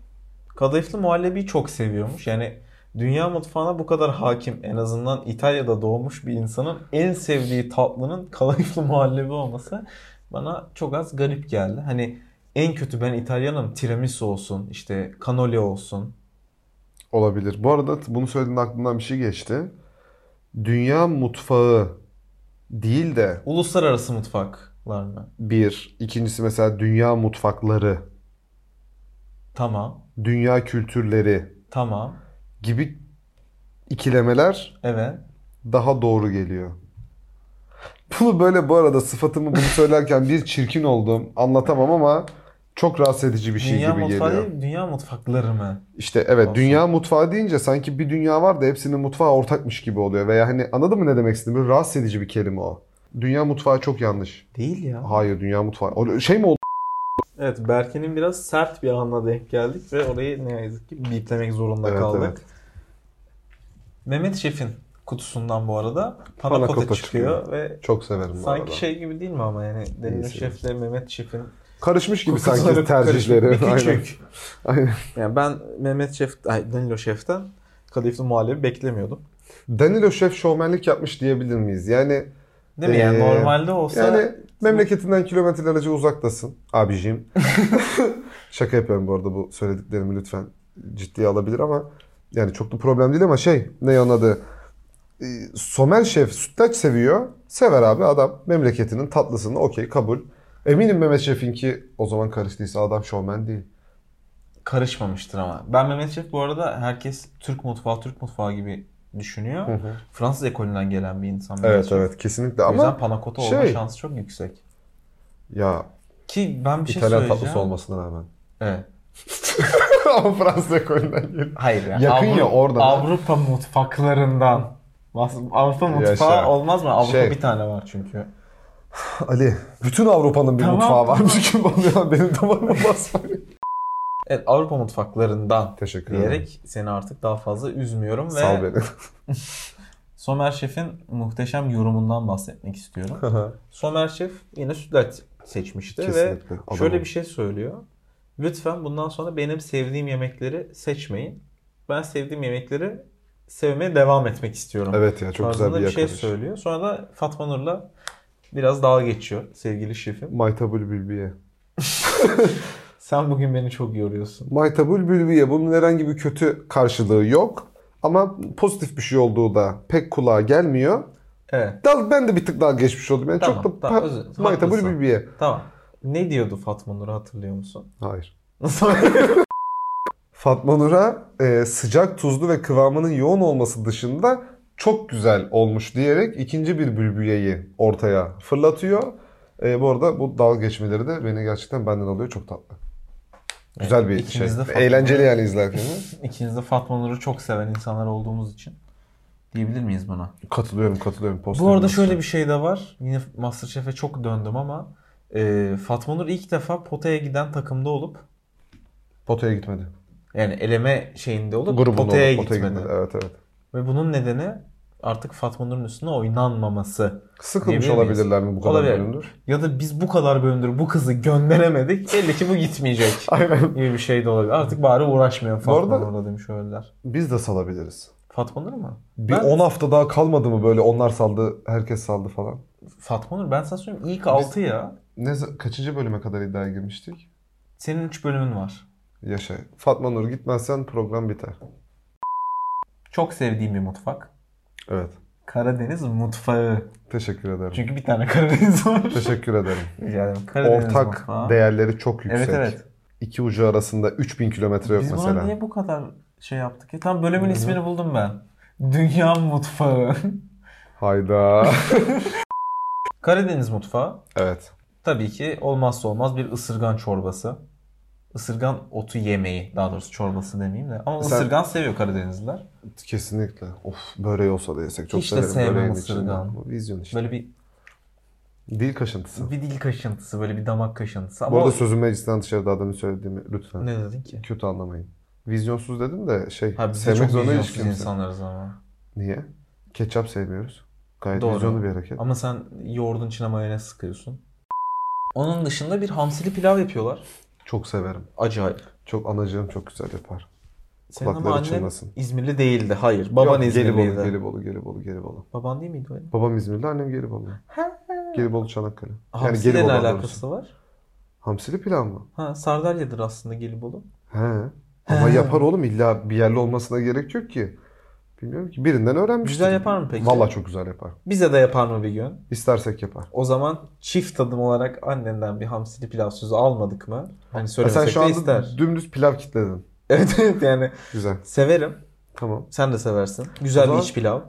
S3: kadayıflı muhallebiyi çok seviyormuş. Yani dünya mutfağına bu kadar hakim en azından İtalya'da doğmuş bir insanın en sevdiği tatlının kadayıflı muhallebi olması bana çok az garip geldi. Hani en kötü ben İtalyanım tiramisu olsun işte cannoli olsun.
S2: Olabilir. Bu arada t- bunu söylediğinde aklımdan bir şey geçti. Dünya mutfağı değil de
S3: Uluslararası mutfaklar mı?
S2: bir. ikincisi mesela dünya mutfakları,
S3: Tamam.
S2: dünya kültürleri
S3: Tamam.
S2: gibi ikilemeler
S3: Evet.
S2: daha doğru geliyor. Bunu böyle bu arada sıfatımı bunu söylerken bir çirkin oldum. Anlatamam ama çok rahatsız edici bir şey
S3: dünya
S2: gibi
S3: mutfağı
S2: geliyor.
S3: değil, dünya mutfakları mı?
S2: İşte evet
S3: Olsun.
S2: dünya mutfağı deyince sanki bir dünya var da hepsinin mutfağı ortakmış gibi oluyor. Veya hani anladın mı ne demek istediğimi? Böyle rahatsız edici bir kelime o. Dünya mutfağı çok yanlış.
S3: Değil ya.
S2: Hayır dünya mutfağı. O şey mi oldu?
S3: Evet Berke'nin biraz sert bir anla denk geldik ve orayı ne yazık ki biplemek zorunda
S2: Evet,
S3: kaldık.
S2: evet.
S3: Mehmet Şef'in kutusundan bu arada
S2: Panakota
S3: panakota çıkıyor, ve
S2: Çok severim bu
S3: sanki
S2: arada.
S3: şey gibi değil mi ama yani Deniz
S2: İyisi.
S3: Şef'le Mehmet Şef'in
S2: Karışmış gibi
S3: kokuları
S2: sanki tercihleri.
S3: karışık, bir
S2: Aynen.
S3: küçük.
S2: Aynen.
S3: Yani ben Mehmet Şef, ay Danilo Şef'ten kadayıflı muhallebi beklemiyordum.
S2: Danilo Şef şovmenlik yapmış diyebilir miyiz? Yani
S3: Değil mi? Yani
S2: Ee,
S3: normalde olsa
S2: yani memleketinden kilometrelerce uzaktasın abiciğim. Şaka yapıyorum bu arada bu söylediklerimi lütfen ciddiye alabilir ama yani çok da problem değil ama şey ne onun adı Ee, Somer Şef sütlaç seviyor. Sever abi adam memleketinin tatlısını okey kabul. Eminim Mehmet Şef'in ki o zaman karıştıysa adam şovmen değil.
S3: karışmamıştır ama. Ben Mehmet Şef bu arada herkes Türk mutfağı Türk mutfağı gibi düşünüyor. Fransız ekolünden gelen bir insan. Mehmet
S2: Evet
S3: Şef.
S2: evet kesinlikle
S3: O yüzden
S2: ama
S3: panakota olma
S2: şey-
S3: şansı çok yüksek.
S2: ya
S3: Ki ben bir şey
S2: İtalyan
S3: söyleyeceğim.
S2: tatlısı olmasına rağmen.
S3: Evet.
S2: ama Fransa ekolünden geliyor.
S3: Hayır ya.
S2: Yakın ya oradan.
S3: Avrupa mutfaklarından. Bas- Avrupa
S2: Ya
S3: mutfağı
S2: işte.
S3: olmaz mı? Avrupa
S2: Şey.
S3: bir tane var çünkü.
S2: Ali bütün Avrupa'nın bir
S3: Tamam,
S2: mutfağı varmış gibi oluyor. Benim damarıma basma.
S3: Evet Avrupa mutfaklarından
S2: Teşekkür ederim.
S3: diyerek seni artık daha fazla üzmüyorum ve
S2: Sal beni.
S3: Somer Şef'in muhteşem yorumundan bahsetmek istiyorum. Somer Şef yine sütlaç seçmişti ve
S2: Kesinlikle. Adamım.
S3: şöyle bir şey söylüyor. Lütfen bundan sonra benim sevdiğim yemekleri seçmeyin. Ben sevdiğim yemekleri sevmeye devam etmek istiyorum.
S2: Evet ya çok güzel
S3: şey Tarzında
S2: bir
S3: bir şey
S2: yakarış.
S3: söylüyor. Sonra da Fatma Nur'la biraz dalga geçiyor sevgili şefim.
S2: Maytabul Bülbiye.
S3: Sen bugün beni çok yoruyorsun.
S2: Maytabul Bülbiye bunun herhangi bir kötü karşılığı yok. Ama pozitif bir şey olduğu da pek kulağa gelmiyor.
S3: Evet
S2: Dal, ben de bir tık daha geçmiş oldum. Yani
S3: Tamam,
S2: çok da
S3: tamam,
S2: pa-
S3: özür dilerim.
S2: Maytabul
S3: Haklısın.
S2: Bülbiye.
S3: tamam. Ne diyordu Fatma Nur hatırlıyor musun?
S2: Hayır.
S3: Nasıl?
S2: Fatma Nur'a e, sıcak, tuzlu ve kıvamının yoğun olması dışında çok güzel olmuş diyerek ikinci bir bülbüyeyi ortaya fırlatıyor. E, bu arada bu dalga geçmeleri de beni gerçekten benden alıyor. Çok tatlı. Güzel bir şey.
S3: ikimiz de Fatma
S2: Eğlenceli
S3: Nur-
S2: yani izlerken.
S3: İkiniz de Fatma Nur'u çok seven insanlar olduğumuz için diyebilir miyiz buna?
S2: katılıyorum, katılıyorum.
S3: Bu arada şöyle bir şey de var. Yine Masterchef'e çok döndüm ama e, Fatma Nur ilk defa potaya giden takımda olup şey-
S2: Potaya gitmedi.
S3: yani eleme şeyinde olup
S2: Grubunda
S3: potaya
S2: oldu,
S3: gitmedi.
S2: Evet evet.
S3: Ve bunun nedeni artık Fatma Nur'un üstüne oynanmaması.
S2: Sıkılmış
S3: Diyebilir miyiz?
S2: olabilirler mi bu kadar
S3: Olabilir.
S2: bölümdür?
S3: Ya da biz bu kadar bölümdür bu kızı gönderemedik. Belli ki bu gitmeyecek.
S2: Aynen.
S3: gibi bir şey de olabilir. Artık bari uğraşmayalım Fatma
S2: arada-
S3: Nur'la demiş öyleler.
S2: Biz de salabiliriz.
S3: Fatma Nur mu?
S2: Bir
S3: Ben-
S2: 10 hafta daha kalmadı mı böyle onlar saldı, herkes saldı falan.
S3: Fatma Nur ben sana söyleyeyim ilk 6 ya.
S2: Ne za- kaçıncı bölüme kadar iddiaya girmiştik?
S3: Senin 3 bölümün var.
S2: Yaşa. Fatma Nur gitmezsen program biter.
S3: Çok sevdiğim bir mutfak.
S2: Evet.
S3: Karadeniz mutfağı.
S2: Teşekkür ederim.
S3: Çünkü bir tane Karadeniz var.
S2: Teşekkür ederim.
S3: Rica ederim. Karadeniz
S2: Ortak
S3: mutfağı.
S2: değerleri çok yüksek.
S3: Evet evet.
S2: İki ucu arasında 3000 kilometre yok
S3: Biz buna
S2: mesela.
S3: niye bu kadar şey yaptık ya? Tam bölümün ismini buldum ben. Dünya mutfağı.
S2: Hayda.
S3: Karadeniz mutfağı
S2: evet.
S3: tabii ki olmazsa olmaz bir ısırgan çorbası. Isırgan otu yemeği daha doğrusu çorbası demeyeyim de. Ama
S2: Sen-
S3: ısırgan seviyor Karadenizliler.
S2: Kesinlikle. Of böreği olsa da yesek. Çok
S3: Hiç de
S2: severim
S3: sevmem
S2: böreğin
S3: ısırgan.
S2: içinde. Bu Vizyon işte.
S3: Böyle bir
S2: Dil kaşıntısı.
S3: bir dil kaşıntısı, böyle bir damak kaşıntısı.
S2: Bu
S3: Ama
S2: arada sözüm meclisten dışarıda adamın söylediğimi lütfen.
S3: ne dedin ki?
S2: Kötü anlamayın. Vizyonsuz dedim de şey
S3: Ha, biz de
S2: sevmek
S3: çok
S2: zorunda hiç
S3: vizyonsuz
S2: kimse.
S3: insanlarız ama.
S2: Niye? Ketçap sevmiyoruz. Gayet
S3: Doğru.
S2: vizyonlu bir hareket.
S3: Ama sen yoğurdun içine mayonez sıkıyorsun. Onun dışında bir hamsili pilav yapıyorlar.
S2: Çok severim.
S3: Acayip.
S2: Çok anacığım çok güzel yapar.
S3: Senin ama
S2: Kulakları
S3: annen
S2: çınlasın.
S3: İzmirli değildi. Hayır. Baban
S2: Yok,
S3: İzmirliydi.
S2: Gelibolu, Gelibolu, Gelibolu, Gelibolu.
S3: Baban değil miydi öyle?
S2: Babam İzmirli, annem Gelibolu. Gelibolu Çanakkale.
S3: Hamsiyle ne
S2: daha
S3: alakası
S2: doğrusu.
S3: var?
S2: Hamsili pilav mı?
S3: Ha, Sardalya'dır aslında Gelibolu.
S2: He. Ama
S3: He.
S2: yapar oğlum illa bir yerli olmasına gerek yok ki. Bilmiyorum ki birinden öğrenmiştim.
S3: Güzel yapar mı peki?
S2: Valla çok güzel yapar.
S3: Bize de yapar mı bir gün?
S2: İstersek yapar.
S3: O zaman çift tadım olarak annenden bir hamsili pilav sözü almadık mı? Hani
S2: Ya sen
S3: söylemesek
S2: şu
S3: de
S2: anda
S3: ister.
S2: dümdüz pilav kitledin.
S3: evet evet yani
S2: Güzel.
S3: severim.
S2: Tamam.
S3: Sen de seversin. Güzel bir
S2: zaman-
S3: iç pilav.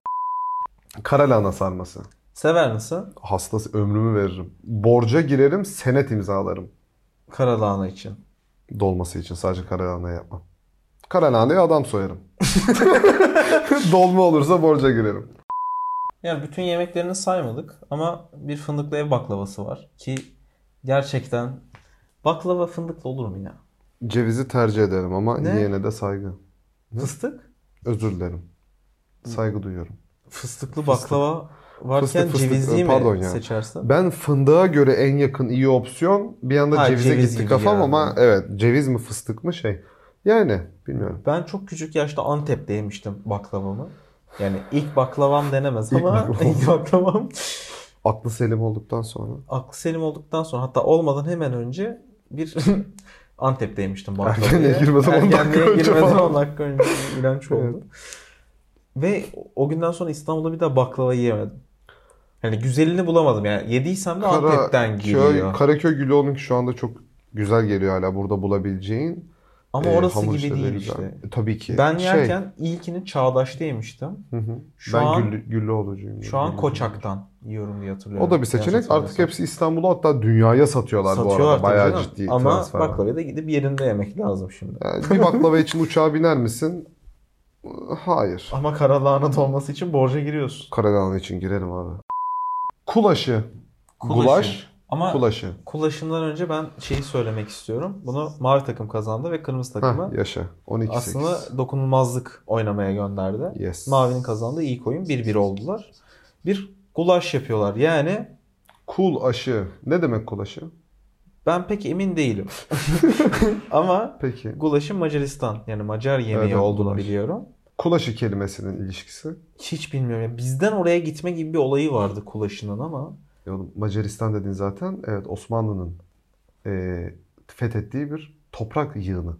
S2: Kara lahana sarması.
S3: Sever misin?
S2: Hastası ömrümü veririm. Borca girerim, senet imzalarım.
S3: Karalahana için.
S2: Dolması için sadece kara lahana yapmam. Kara lahanaya adam soyarım. Dolma olursa borca girerim.
S3: Yani bütün yemeklerini saymadık ama bir fındıklı ev baklavası var ki gerçekten baklava fındıklı olur mu ya?
S2: Cevizi tercih ederim ama
S3: Ne?
S2: yiyene de saygı.
S3: Fıstık?
S2: Özür dilerim. Saygı duyuyorum.
S3: Fıstıklı baklava varken
S2: Fıstık, fıstık,
S3: cevizli
S2: e,
S3: mi
S2: pardon ya.
S3: seçersin?
S2: Ben fındığa göre en yakın iyi opsiyon bir anda
S3: Ha,
S2: cevize
S3: ceviz
S2: gitti
S3: gibi
S2: kafam
S3: geldi.
S2: ama evet ceviz mi fıstık mı şey. Yani bilmiyorum.
S3: Ben çok küçük yaşta Antep'te yemiştim baklavamı. Yani ilk baklavam denemez
S2: İlk
S3: ama
S2: baklavam.
S3: ilk baklavam
S2: Aklı selim olduktan sonra
S3: aklı selim olduktan sonra hatta olmadan hemen önce bir Antep'te yemiştim baklavayı.
S2: Erkenliğe girmeden on dakika
S3: Ergenliğe
S2: önce
S3: girmeden
S2: falan.
S3: 10 dakika önce iğrenç oldu. Ve o günden sonra İstanbul'da bir daha baklava yiyemedim. Yani güzelini bulamadım yani. Yediysem de Antep'ten geliyor.
S2: Karaköy, Karaköy Gülü onunki şu anda çok güzel geliyor hala burada bulabileceğin.
S3: Ama
S2: Ee,
S3: orası
S2: hamur
S3: gibi
S2: işleri
S3: değil
S2: güzel.
S3: işte.
S2: E, tabii ki.
S3: Ben
S2: Şey,
S3: yerken ilkini Çağdaş'ta yemiştim.
S2: hı hı.
S3: Şu
S2: ben
S3: an
S2: güllü, güllü olucuyum.
S3: Şu an
S2: Güllü.
S3: Koçak'tan yiyorum diye hatırlıyorum.
S2: O da bir seçenek.
S3: Yanlış
S2: Artık
S3: hatırlamıyorsam.
S2: hepsi İstanbul'a hatta dünyaya satıyorlar bu
S3: satıyorlar
S2: arada.
S3: tabii
S2: Bayağı
S3: canım.
S2: ciddi
S3: Ama
S2: transfer var.
S3: baklavayı da gidip yerinde yemek lazım şimdi.
S2: Yani bir baklava için uçağa biner misin? Hayır.
S3: Ama kara lahanat olması için borca giriyorsun.
S2: Karadağlı için girerim abi. Kulaşı.
S3: Kulaşı.
S2: Gulaş.
S3: Ama
S2: Kulaşı.
S3: kulaşımdan önce ben şeyi söylemek istiyorum. Bunu mavi takım kazandı ve kırmızı takımı
S2: Hah yaşa. 12-8.
S3: aslında dokunulmazlık oynamaya gönderdi.
S2: Yes.
S3: Mavinin kazandığı ilk oyun 1-1 oldular. Bir gulaş yapıyorlar. Yani
S2: Kul aşı. Ne demek kul aşı?
S3: ben pek emin değilim. Ama
S2: Peki.
S3: gulaşın Macaristan yani Macar yemeği
S2: Evet,
S3: olduğunu
S2: gulaş.
S3: biliyorum.
S2: Kul aşı kelimesinin ilişkisi.
S3: Hiç bilmiyorum. Yani bizden oraya gitme gibi bir olayı vardı kulaşının ama
S2: E oğlum, Macaristan dedin zaten. Evet Osmanlı'nın e, fethettiği bir toprak yığını.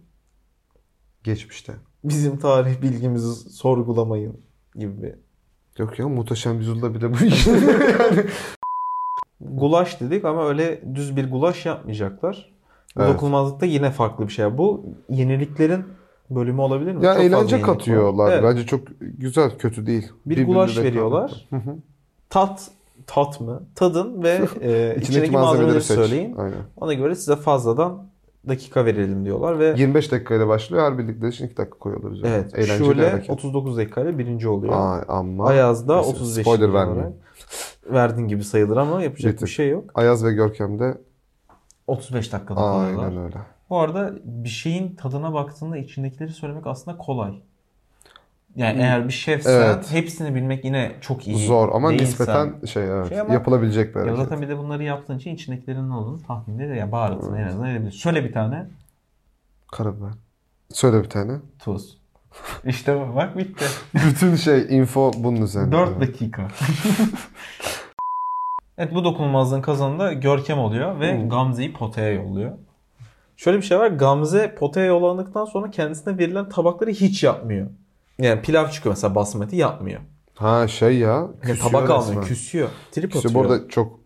S2: Geçmişte.
S3: bizim tarih bilgimizi sorgulamayın gibi bir
S2: Yok ya Muhteşem Yüzyılda bile bu iş. yani.
S3: Gulaş dedik ama öyle düz bir gulaş yapmayacaklar. Bu
S2: Evet.
S3: dokunulmazlıkta yine farklı bir şey. Bu yeniliklerin bölümü olabilir mi?
S2: Ya
S3: Çok fazla
S2: eğlence
S3: yenilik var.
S2: katıyorlar.
S3: Evet.
S2: Bence çok güzel, kötü değil.
S3: Bir
S2: Birbirine
S3: gulaş
S2: rekabet.
S3: veriyorlar.
S2: Hı hı.
S3: Tat, tat mı? Tadın ve e,
S2: İçindeki,
S3: içindeki malzemeleri
S2: malzemeleri seç.
S3: söyleyin.
S2: Aynen.
S3: Ona göre size fazladan dakika verelim diyorlar ve
S2: 25 dakikayla başlıyor. Her birlikte için 2 dakika koyuyorlar üzerine.
S3: evet
S2: Eğlenceli
S3: şöyle
S2: hareket.
S3: 39 dakikayla birinci oluyor.
S2: Ay amma.
S3: Ayaz da
S2: Neyse,
S3: 35.
S2: spoiler
S3: olarak.
S2: vermeyeyim.
S3: Verdin gibi sayılır ama yapacak
S2: Bitti.
S3: bir şey yok.
S2: Ayaz ve Görkem de
S3: 35 dakikada kalıyorlar.
S2: aynen öyle.
S3: Bu arada bir şeyin tadına baktığında içindekileri söylemek aslında kolay. Yani eğer bir şefsen
S2: Hmm. Evet.
S3: hepsini bilmek yine çok iyi.
S2: Zor ama
S3: Değilsen-
S2: nispeten şey evet
S3: Şey ama-
S2: yapılabilecek bir
S3: Ya
S2: hareket.
S3: zaten bir de bunları yaptığın için içindekilerin ne olduğunu tahminde de yani baharatını en azından edebilirsin. Söyle bir tane
S2: Karabiber. Söyle bir tane.
S3: tuz. İşte bu, bak bitti.
S2: Bütün şey info bunun üzerine.
S3: 4 dakika. evet bu dokunulmazlığın kazanı da Görkem oluyor ve
S2: Hmm.
S3: Gamze'yi potaya yolluyor. Şöyle bir şey var. Gamze potaya yollandıktan sonra kendisine verilen tabakları hiç yapmıyor. Yani pilav çıkıyor mesela basmati yapmıyor.
S2: Ha şey ya.
S3: Yani
S2: küsüyor
S3: E, tabak almıyor,
S2: resmen.
S3: küsüyor. Trip
S2: Küsüyor.
S3: atıyor.
S2: Bu arada çok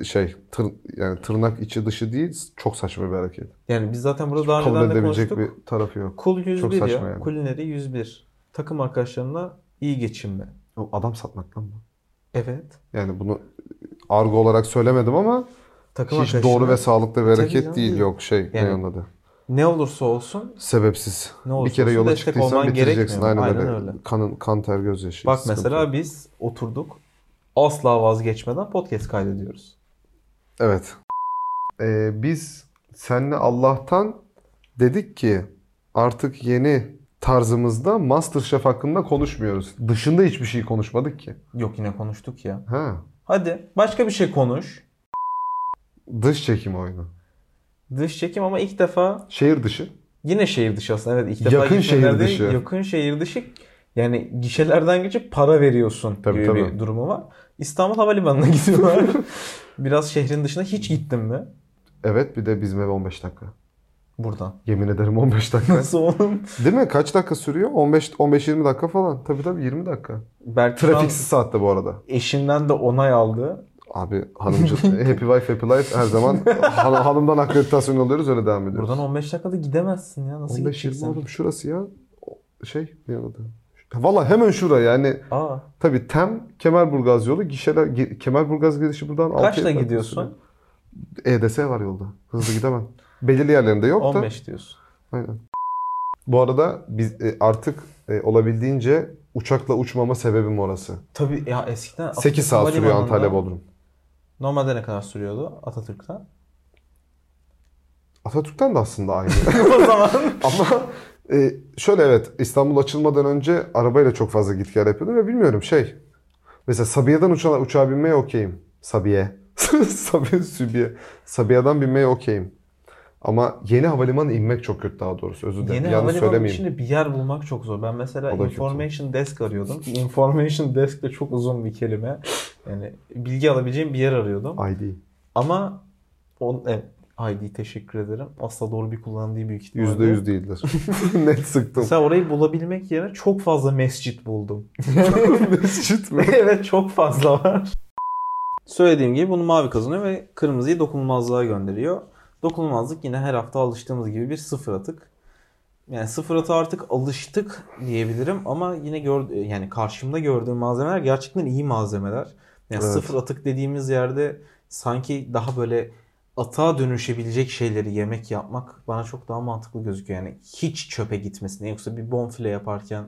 S2: e, şey tır, yani tırnak içi dışı değil çok saçma bir hareket.
S3: Yani biz zaten burada daha
S2: Kabul
S3: önceden de
S2: edebilecek
S3: konuştuk.
S2: bir tarafı yok.
S3: Kul 101 ya.
S2: saçma yani.
S3: Kulineri 101. Takım arkadaşlarına iyi geçinme.
S2: O adam satmak lan bu.
S3: Evet.
S2: Yani bunu e, argo olarak söylemedim ama
S3: Takım
S2: hiç doğru ve sağlıklı bir
S3: Tabii
S2: hareket
S3: canım,
S2: değil.
S3: değil.
S2: Yok şey ne
S3: Yani-
S2: onun adı?
S3: ne olursa olsun
S2: Sebepsiz.
S3: Ne olursa
S2: bir kere
S3: olsun
S2: yola
S3: destek
S2: çıktıysan
S3: olman
S2: bitireceksin.
S3: gerekmiyor.
S2: Aynen,
S3: Aynen
S2: öyle.
S3: öyle.
S2: Kanın, kan ter gözyaşı.
S3: bak
S2: Sıkıntı
S3: mesela
S2: yok.
S3: biz oturduk asla vazgeçmeden podcast kaydediyoruz.
S2: Evet. Ee, biz senle Allah'tan dedik ki artık yeni tarzımızda MasterChef hakkında konuşmuyoruz. Dışında hiçbir şey konuşmadık ki.
S3: Yok yine konuştuk ya.
S2: Ha.
S3: Hadi başka bir şey konuş.
S2: Dış çekim oyunu.
S3: Dış çekim ama ilk defa
S2: Şehir dışı.
S3: yine şehir dışı aslında. Evet ilk defa
S2: Yakın
S3: gişelerde-
S2: şehir dışı.
S3: Yakın şehir dışı yani gişelerden geçip para veriyorsun
S2: Tabii,
S3: gibi
S2: tabii.
S3: bir durumu var. İstanbul Havalimanı'na gidiyorlar. Biraz şehrin dışına hiç gittin mi?
S2: Evet bir de bizim eve 15 dakika.
S3: Buradan.
S2: Yemin ederim 15 dakika.
S3: Nasıl oğlum?
S2: Değil mi? Kaç dakika sürüyor? 15 15-20 dakika falan. Tabii tabii 20 dakika.
S3: Belki şu an
S2: Trafiksiz saatte bu arada.
S3: eşinden de onay aldı.
S2: Abi hanımcı happy wife happy life her zaman han- hanımdan akreditasyon alıyoruz öyle devam ediyoruz.
S3: Buradan 15 dakikada gidemezsin ya. Nasıl
S2: 15-20
S3: gideceksin?
S2: oğlum şurası ya. O- Şey ne adı? Valla hemen şura yani.
S3: Aa,
S2: Tabii Tem Kemerburgaz yolu gişeler Ge- Kemerburgaz girişi buradan altı
S3: kaçla
S2: dakika
S3: gidiyorsun?
S2: sürüyor. EDS var yolda. Hızlı gidemem. Belirli yerlerinde yok da.
S3: 15 diyorsun.
S2: Aynen. Bu arada biz e, artık e, olabildiğince uçakla uçmama sebebim orası.
S3: Tabii ya eskiden
S2: 8 saat
S3: Atatürk
S2: sürüyor
S3: Havalimanı'nda
S2: Antalya Bodrum.
S3: Normalde ne kadar sürüyordu Atatürk'ten?
S2: Atatürk'ten de aslında aynı.
S3: o zaman
S2: Ama e, şöyle evet İstanbul açılmadan önce arabayla çok fazla git gel yapıyordum ve bilmiyorum şey. Mesela Sabiha'dan uçağa, uçağa binmeye okeyim. Sabiha. Sabiha, Sübiha. Sabiha'dan binmeye okeyim. Ama yeni havalimanı inmek çok kötü daha doğrusu. Özür dilerim.
S3: yeni
S2: Yanlış
S3: havalimanı
S2: söylemeyeyim.
S3: içinde bir yer bulmak çok zor. Ben mesela
S2: O da kötü.
S3: information desk arıyordum. Information desk de çok uzun bir kelime. Yani bilgi alabileceğim bir yer arıyordum.
S2: ID.
S3: Ama on, evet, ID teşekkür ederim. Asla doğru bir kullandığı büyük ihtimalle.
S2: Yüzde yüz değildir. Net sıktım.
S3: Mesela orayı bulabilmek yerine çok fazla mescit buldum.
S2: Mescit mi?
S3: evet çok fazla var. Söylediğim gibi bunu mavi kazanıyor ve kırmızıyı dokunulmazlığa gönderiyor. Dokunulmazlık yine her hafta alıştığımız gibi bir sıfır atık. Yani sıfır atı artık alıştık diyebilirim ama yine gör, yani karşımda gördüğüm malzemeler gerçekten iyi malzemeler.
S2: Evet.
S3: Yani sıfır atık dediğimiz yerde sanki daha böyle atağa dönüşebilecek şeyleri yemek yapmak bana çok daha mantıklı gözüküyor. Yani hiç çöpe gitmesine yoksa bir bonfile yaparken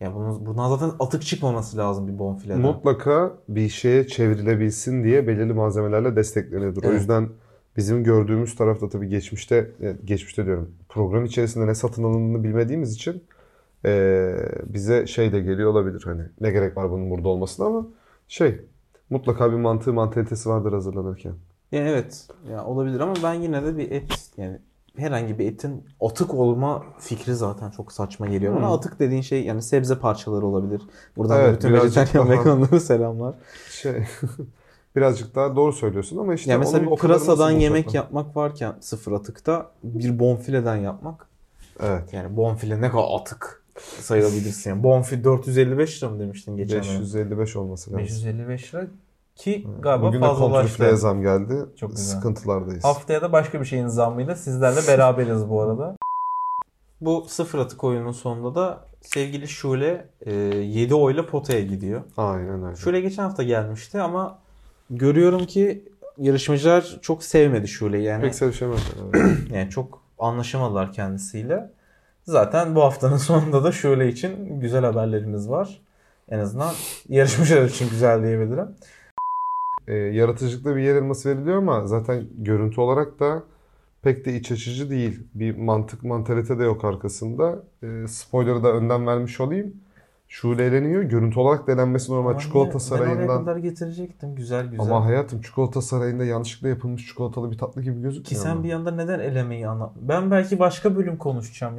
S3: Ya bunun, buradan zaten atık çıkmaması lazım bir bonfileden.
S2: Mutlaka bir şeye çevrilebilsin diye belirli malzemelerle destekleniyordur. O
S3: Evet.
S2: yüzden bizim gördüğümüz tarafta tabii geçmişte, e, geçmişte diyorum program içerisinde ne satın alındığını bilmediğimiz için e, bize şey de geliyor olabilir hani ne gerek var bunun burada olmasına ama şey mutlaka bir mantığı mantalitesi vardır hazırlanırken.
S3: Ya evet ya olabilir ama ben yine de bir et yani herhangi bir etin atık olma fikri zaten çok saçma geliyor bana.
S2: Hmm.
S3: Atık dediğin şey yani sebze parçaları olabilir. Buradan da
S2: Evet,
S3: bütün
S2: birazcık
S3: vejetaryen
S2: daha-
S3: veganlara selamlar.
S2: Şey birazcık daha doğru söylüyorsun ama işte
S3: ya mesela
S2: onun
S3: bir
S2: o kadarını
S3: pırasadan
S2: nasıl
S3: yemek
S2: bulacaklar?
S3: yapmak varken sıfır atıkta bir bonfileden yapmak.
S2: Evet.
S3: Yani bonfile ne kadar atık sayılabilirsin. Yani bonfile 455 lira mı demiştin geçen
S2: 555 olması
S3: dönem?
S2: lazım.
S3: 555 lira ki galiba
S2: Bugün de
S3: fazlalaştı.
S2: kontrfileye zam geldi.
S3: Çok güzel.
S2: Sıkıntılardayız.
S3: Haftaya da başka bir şeyin zammıyla sizlerle beraberiz bu arada. Bu sıfır atık oyunun sonunda da sevgili Şule 7 oyla potaya gidiyor.
S2: Aynen öyle.
S3: Şule geçen hafta gelmişti ama görüyorum ki yarışmacılar çok sevmedi Şule'yi. Yani,
S2: Pek sevişemezler. evet.
S3: yani çok anlaşamadılar kendisiyle. Zaten bu haftanın sonunda da Şule için güzel haberlerimiz var. En azından yarışmacılar için güzel diyebilirim.
S2: Ee, yaratıcılıkta bir yer elması veriliyor ama zaten görüntü olarak da pek de iç açıcı değil. Bir mantık mantalite de yok arkasında. Ee, spoiler'ı da önden vermiş olayım. Şule eğleniyor. Görüntü olarak da eğlenmesi normal.
S3: Ama
S2: Çikolata
S3: niye? Ben oraya
S2: sarayından.
S3: kadar getirecektim. Güzel güzel.
S2: Ama hayatım çikolata sarayında yanlışlıkla yapılmış çikolatalı bir tatlı gibi gözükmüyor
S3: Ki sen
S2: mu?
S3: bir yanda neden elemeyi anlat? Ben belki başka bölüm konuşacağım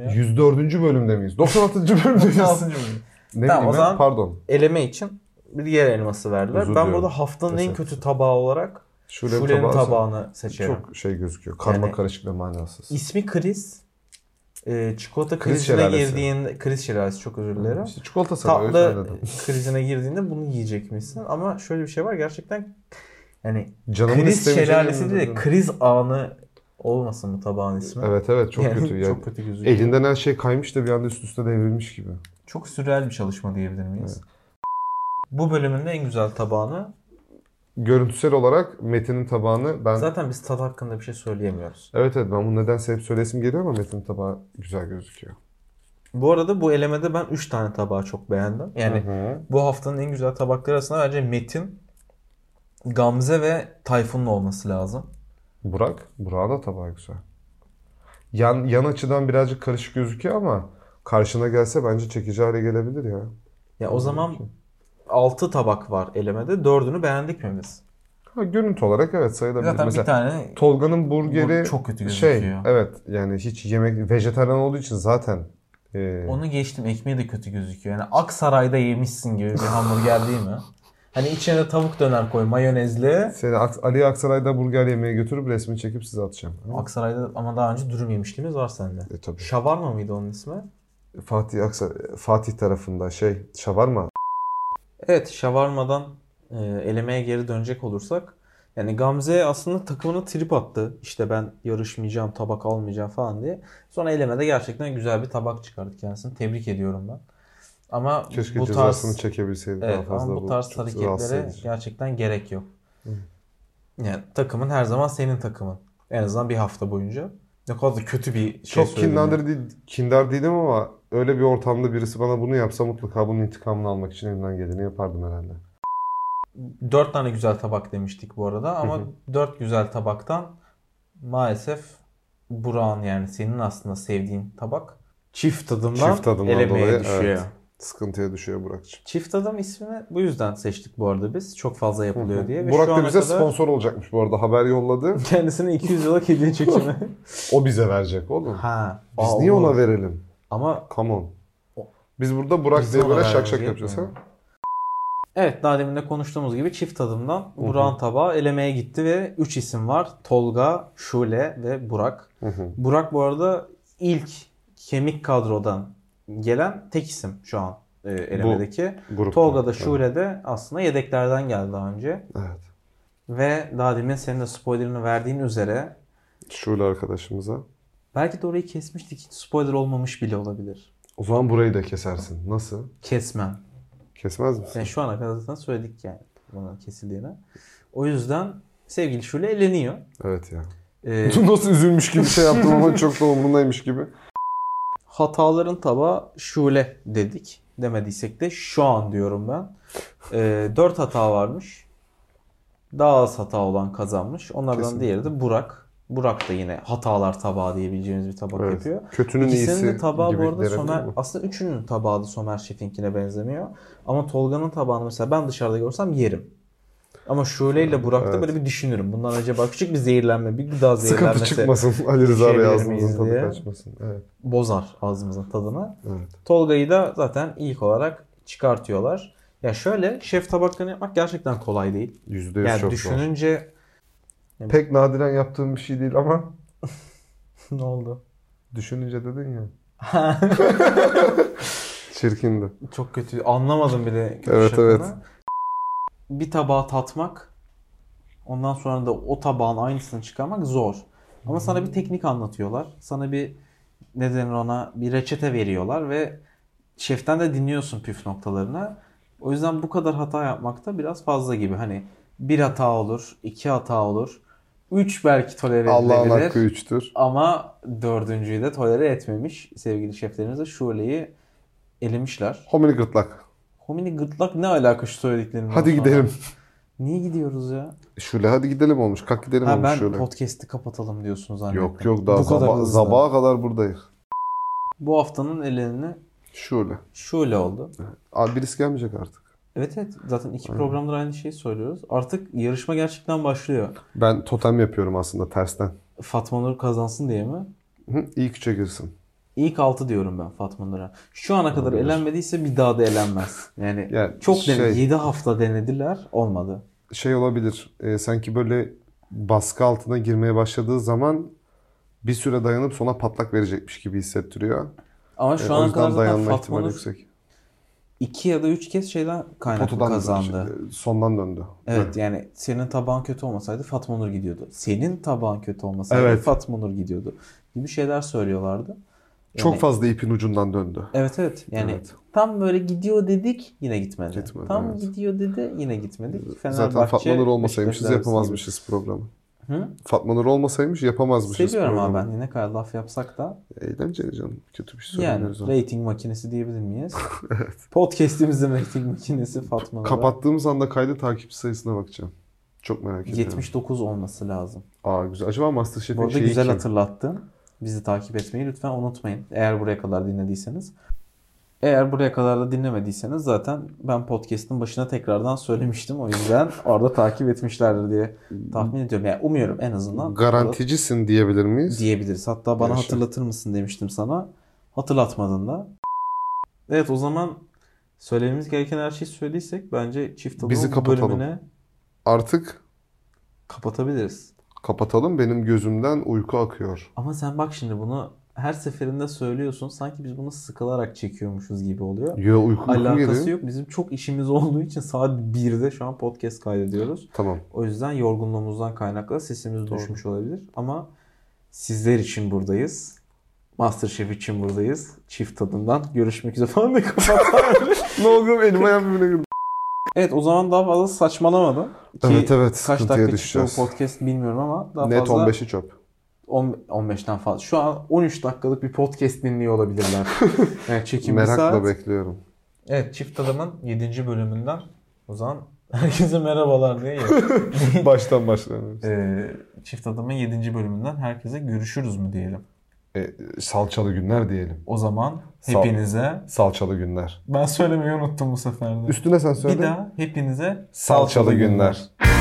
S3: ya.
S2: 104. bölümde miyiz? 96. bölümdeyiz.
S3: 16. bölüm.
S2: ne
S3: Tamam, o
S2: bileyim ben?
S3: zaman-
S2: Pardon.
S3: Eleme için bir yer elması verdiler.
S2: Özür
S3: ben
S2: dilerim.
S3: burada haftanın en
S2: Teşekkür
S3: kötü tabağı olarak
S2: Şule
S3: Şule'nin
S2: tabağı-
S3: tabağını seçerim.
S2: Çok şey gözüküyor. Karma
S3: Yani-
S2: karışık ve manasız.
S3: İsmi kriz. Ee, çikolata
S2: Kriz
S3: krizine
S2: şelalesi.
S3: girdiğinde kriz şelalesi çok özür dilerim.
S2: İşte çikolata sarıyor.
S3: Tatlı
S2: Tatlı.
S3: krizine girdiğinde bunu yiyecekmişsin ama şöyle bir şey var gerçekten yani
S2: Canımın
S3: kriz
S2: istemeyeceği
S3: şelalesi
S2: yerinde
S3: değil de
S2: dedim.
S3: kriz anı olmasın mı tabağın ismi?
S2: Evet evet çok
S3: Yani
S2: kötü. Yani
S3: Çok kötü gözüküyor.
S2: Elinden her şey kaymış da bir anda üst üste devrilmiş gibi.
S3: Çok sürreal bir çalışma diyebilir miyiz?
S2: Evet.
S3: Bu bölümün de en güzel tabağını
S2: Görüntüsel olarak Metin'in tabağını ben...
S3: zaten biz tat hakkında bir şey söyleyemiyoruz.
S2: Evet evet ben bunu nedense hep söylesim geliyor ama Metin'in tabağı güzel gözüküyor.
S3: Bu arada bu elemede ben 3 tane tabağı çok beğendim. Yani
S2: Hı hı.
S3: bu haftanın en güzel tabakları arasında bence Metin, Gamze ve Tayfun'un olması lazım.
S2: Burak. Burak'ın da tabağı güzel. Yan, yan açıdan birazcık karışık gözüküyor ama karşına gelse bence çekici hale gelebilir ya.
S3: Ya o zaman 6 tabak var elemede. 4'ünü beğendik mi biz?
S2: Ha, görüntü olarak evet sayılabilir.
S3: Zaten
S2: Mesela
S3: bir tane
S2: Tolga'nın burgeri
S3: Bu çok kötü
S2: Şey,
S3: gözüküyor.
S2: evet yani hiç yemek vejetaryen olduğu için zaten e,
S3: Onu geçtim ekmeği de kötü gözüküyor. Yani Aksaray'da yemişsin gibi bir hamburger değil mi? Hani içine de tavuk döner koy mayonezli.
S2: seni Aks- Ali Aksaray'da burger yemeye götürüp resmini çekip size atacağım. Ama-
S3: Aksaray'da ama daha önce dürüm yemişliğimiz var sende.
S2: E, tabii.
S3: Şavarma mıydı onun ismi?
S2: Fatih Aksa- Fatih tarafında şey şavarma.
S3: Evet şavarmadan e, elemeye geri dönecek olursak. Yani Gamze aslında takımına trip attı. İşte ben yarışmayacağım, tabak almayacağım falan diye. Sonra elemede gerçekten güzel bir tabak çıkardı kendisini. Tebrik ediyorum ben. Ama
S2: Keşke
S3: bu
S2: cezasını
S3: tarz
S2: çekebilseydi daha
S3: evet,
S2: fazla.
S3: ama bu tarz
S2: çok rahatsız
S3: hareketlere
S2: edici.
S3: gerçekten gerek yok.
S2: Hı.
S3: Yani takımın her zaman senin takımın. En azından bir hafta boyunca. Ne kadar da kötü bir şey
S2: Çok
S3: söyledim.
S2: kindar, değil, kindar değilim ama öyle bir ortamda birisi bana bunu yapsa mutlaka bunun intikamını almak için elimden geleni yapardım herhalde.
S3: Dört tane güzel tabak demiştik bu arada ama
S2: Hı hı.
S3: dört güzel tabaktan maalesef Burak'ın yani senin aslında sevdiğin tabak çift tadımdan,
S2: Çift tadımdan
S3: elemeye
S2: dolayı,
S3: düşüyor.
S2: evet. Sıkıntıya düşüyor Burak'cığım.
S3: Çift tadım ismini bu yüzden seçtik bu arada biz. Çok fazla yapılıyor diye. Ve
S2: Burak
S3: şu
S2: da
S3: ana
S2: bize
S3: kadar
S2: sponsor olacakmış bu arada haber yolladı.
S3: kendisine 200 yıllık hediye çekimi.
S2: O bize verecek oğlum.
S3: ha.
S2: Biz
S3: aa,
S2: niye
S3: olur.
S2: ona verelim?
S3: Ama
S2: Come on.
S3: O-
S2: Biz burada Burak
S3: Biz
S2: diye
S3: ona
S2: böyle şak
S3: vermemiz
S2: şak
S3: gerekmiyor
S2: yapacağız
S3: mu?
S2: ha.
S3: evet daha demin de konuştuğumuz gibi çift tadımdan Burak'ın tabağı elemeye gitti ve 3 isim var. Tolga, Şule ve Burak.
S2: Hı hı.
S3: Burak bu arada ilk kemik kadrodan gelen tek isim şu an e, elemedeki.
S2: Grup.
S3: Tolga da Şule de aslında yedeklerden geldi daha önce.
S2: Evet.
S3: Ve daha demin senin de spoilerını verdiğin üzere
S2: Şule arkadaşımıza.
S3: belki de orayı kesmiştik hiç spoiler olmamış bile olabilir.
S2: O zaman burayı da kesersin. Nasıl?
S3: Kesmem.
S2: Kesmez misin?
S3: Yani şu ana kadar zaten söyledik yani bunun kesildiğini. O yüzden sevgili Şule eleniyor.
S2: Evet ya.
S3: E,
S2: Nasıl üzülmüş gibi şey yaptım ama çok da umurundaymış gibi.
S3: hataların tabağı Şule dedik. demediysek de şu an diyorum ben. E, 4 hata varmış. Daha az hata olan kazanmış. Onlardan
S2: Kesinlikle.
S3: diğeri de Burak. Burak da yine hatalar tabağı diyebileceğimiz bir tabak
S2: Evet.
S3: yapıyor.
S2: Kötünün
S3: İkisinin
S2: iyisi
S3: de tabağı
S2: gibi
S3: bu arada
S2: denebilir
S3: Somer,
S2: mi?
S3: aslında üçünün tabağı da Somer Şefink'ine benzemiyor. Ama Tolga'nın tabağını mesela ben dışarıda görsem yerim. Ama Şule ile Burak'ta
S2: Evet.
S3: böyle bir düşünürüm. Bundan acaba küçük bir zehirlenme, bir gıda
S2: Sıkıntı
S3: zehirlenmesi
S2: çıkmasın. Ali Rıza Bey
S3: şeyler
S2: ağzımızın
S3: şey miyiz
S2: tadı
S3: diye.
S2: kaçmasın. Evet.
S3: bozar ağzımızın tadını.
S2: evet.
S3: Tolga'yı da zaten ilk olarak çıkartıyorlar. Ya şöyle şef tabaklarını yapmak gerçekten kolay değil.
S2: Yüzde yüz
S3: Yani
S2: çok zor.
S3: düşününce
S2: Pek nadiren yaptığım bir şey değil ama
S3: ne oldu?
S2: düşününce dedin ya. Çirkindi.
S3: Çok kötü. Anlamadım bile
S2: Evet,
S3: şakını.
S2: evet.
S3: Bir tabağa tatmak ondan sonra da o tabağın aynısını çıkarmak zor. Ama sana bir teknik anlatıyorlar. Sana bir ne denir ona bir reçete veriyorlar ve şeften de dinliyorsun püf noktalarını. O yüzden bu kadar hata yapmak da biraz fazla gibi. Hani bir hata olur, iki hata olur. Üç belki tolere
S2: Allah'ın
S3: edilebilir.
S2: hakkı üçtür.
S3: Ama dördüncüyü de tolere etmemiş sevgili şeflerimiz de Şule'yi elemişler.
S2: Homini gırtlak.
S3: Homini gırtlak ne alaka şu söylediklerimle?
S2: Hadi gidelim.
S3: Niye gidiyoruz ya?
S2: Şule hadi gidelim olmuş. Kalk gidelim
S3: Ha,
S2: olmuş
S3: ben
S2: şöyle.
S3: podcast'i kapatalım diyorsun zannettim.
S2: Yok yok daha
S3: Bu kadar
S2: zaba-
S3: hızlı.
S2: sabaha kadar buradayız.
S3: Bu haftanın eleni
S2: Şule.
S3: Şule oldu.
S2: Abi birisi gelmeyecek artık.
S3: Evet evet zaten iki programdır aynı şeyi söylüyoruz. Artık yarışma gerçekten başlıyor.
S2: Ben totem yapıyorum aslında tersten.
S3: Fatma Nur kazansın diye mi?
S2: Hı, ilk üçe girsin.
S3: İlk altı diyorum ben Fatma Nur'a. Şu ana kadar
S2: Olabilir.
S3: elenmediyse bir daha da elenmez. Yani,
S2: Yani
S3: çok denedi.
S2: şey-
S3: 7 hafta denediler olmadı.
S2: Şey olabilir. e, sanki böyle baskı altına girmeye başladığı zaman bir süre dayanıp sona patlak verecekmiş gibi hissettiriyor.
S3: Ama
S2: E,
S3: şu
S2: o
S3: ana
S2: yüzden
S3: kadar zaten
S2: dayanma
S3: Fatma
S2: ihtimali
S3: Nur
S2: yüksek.
S3: 2 ya da 3 kez şeyden kaynaklı
S2: Potadan döndü.
S3: kazandı.
S2: E, Sondan döndü.
S3: Evet yani senin tabağın kötü olmasaydı Fatma Nur gidiyordu. Senin tabağın kötü olmasaydı
S2: Evet.
S3: Fatma Nur gidiyordu. Gibi şeyler söylüyorlardı. Yani-
S2: Çok fazla ipin ucundan döndü.
S3: Evet evet yani
S2: Evet.
S3: tam böyle gidiyor dedik yine gitmedi.
S2: Gitmedi,
S3: tam
S2: evet.
S3: gidiyor dedi yine gitmedik.
S2: Zaten
S3: Fenerbahçe,
S2: Fatma Nur olmasaymışız
S3: Beşiktaş derbisi
S2: yapamazmışız programı.
S3: gibi. Hı?
S2: Fatma Nur olmasaymış yapamazmışız
S3: Seviyorum abi
S2: programı.
S3: ben ne kadar laf yapsak da.
S2: Eğlenceli canım. Kötü bir şey
S3: Yani
S2: söylemiyoruz. ama.
S3: rating makinesi diyebilir miyiz? Podcast'imizin rating makinesi Fatma Nur'a.
S2: Kapattığımız anda kaydı takipçi sayısına bakacağım. Çok merak ediyorum.
S3: 79 olması lazım.
S2: Aa güzel. Acaba
S3: Bu
S2: MasterChef'in
S3: arada
S2: şeyi
S3: güzel
S2: Şey kim?
S3: hatırlattın. Bizi takip etmeyi lütfen unutmayın. Eğer buraya kadar dinlediyseniz. Eğer buraya kadar da dinlemediyseniz zaten ben podcast'ın başına tekrardan söylemiştim. O yüzden orada takip etmişlerdir diye tahmin ediyorum. Yani umuyorum en azından.
S2: Garanticisin diyebilir miyiz?
S3: Diyebiliriz. Hatta bana
S2: Yaşa.
S3: hatırlatır mısın demiştim sana. Hatırlatmadın da. Evet o zaman söylememiz gereken her şeyi söylediysek bence çift tadımın
S2: Bizi
S3: bu
S2: kapatalım.
S3: bölümüne
S2: Artık
S3: kapatabiliriz.
S2: kapatalım. Benim gözümden uyku akıyor.
S3: Ama sen bak şimdi bunu her seferinde söylüyorsun. Sanki biz bunu sıkılarak çekiyormuşuz gibi oluyor.
S2: Yo uyku, uykum geliyor.
S3: Alakası yok. Bizim çok işimiz olduğu için saat 1'de şu an podcast kaydediyoruz.
S2: Tamam.
S3: O yüzden yorgunluğumuzdan kaynaklı sesimiz düşmüş olabilir. Ama sizler için buradayız. Masterchef için buradayız. Çift tadından görüşmek üzere falan da kapatalım.
S2: ne oldu? Elim ayağım birbirine girdi.
S3: evet o zaman daha fazla saçmalamadım. Ki
S2: Evet evet
S3: Şey, Kaç
S2: sıkıntıya
S3: dakika çıktı
S2: düşeceğiz.
S3: bu podcast bilmiyorum ama daha
S2: Net
S3: fazla
S2: 15'i çöp.
S3: 10 15'ten fazla. Şu an 13 dakikalık bir podcast dinliyor olabilirler. yani çekim bir
S2: Merakla
S3: saat.
S2: bekliyorum.
S3: Evet Çift Adam'ın 7. bölümünden o zaman herkese merhabalar diye.
S2: Baştan başlayalım.
S3: ee, Çift Adam'ın 7. bölümünden herkese görüşürüz mü diyelim.
S2: E, salçalı günler diyelim.
S3: O zaman
S2: Sağ ol.
S3: hepinize
S2: Salçalı günler.
S3: ben söylemeyi unuttum bu sefer de.
S2: Üstüne sen söyle.
S3: Bir daha hepinize
S2: Salçalı günler.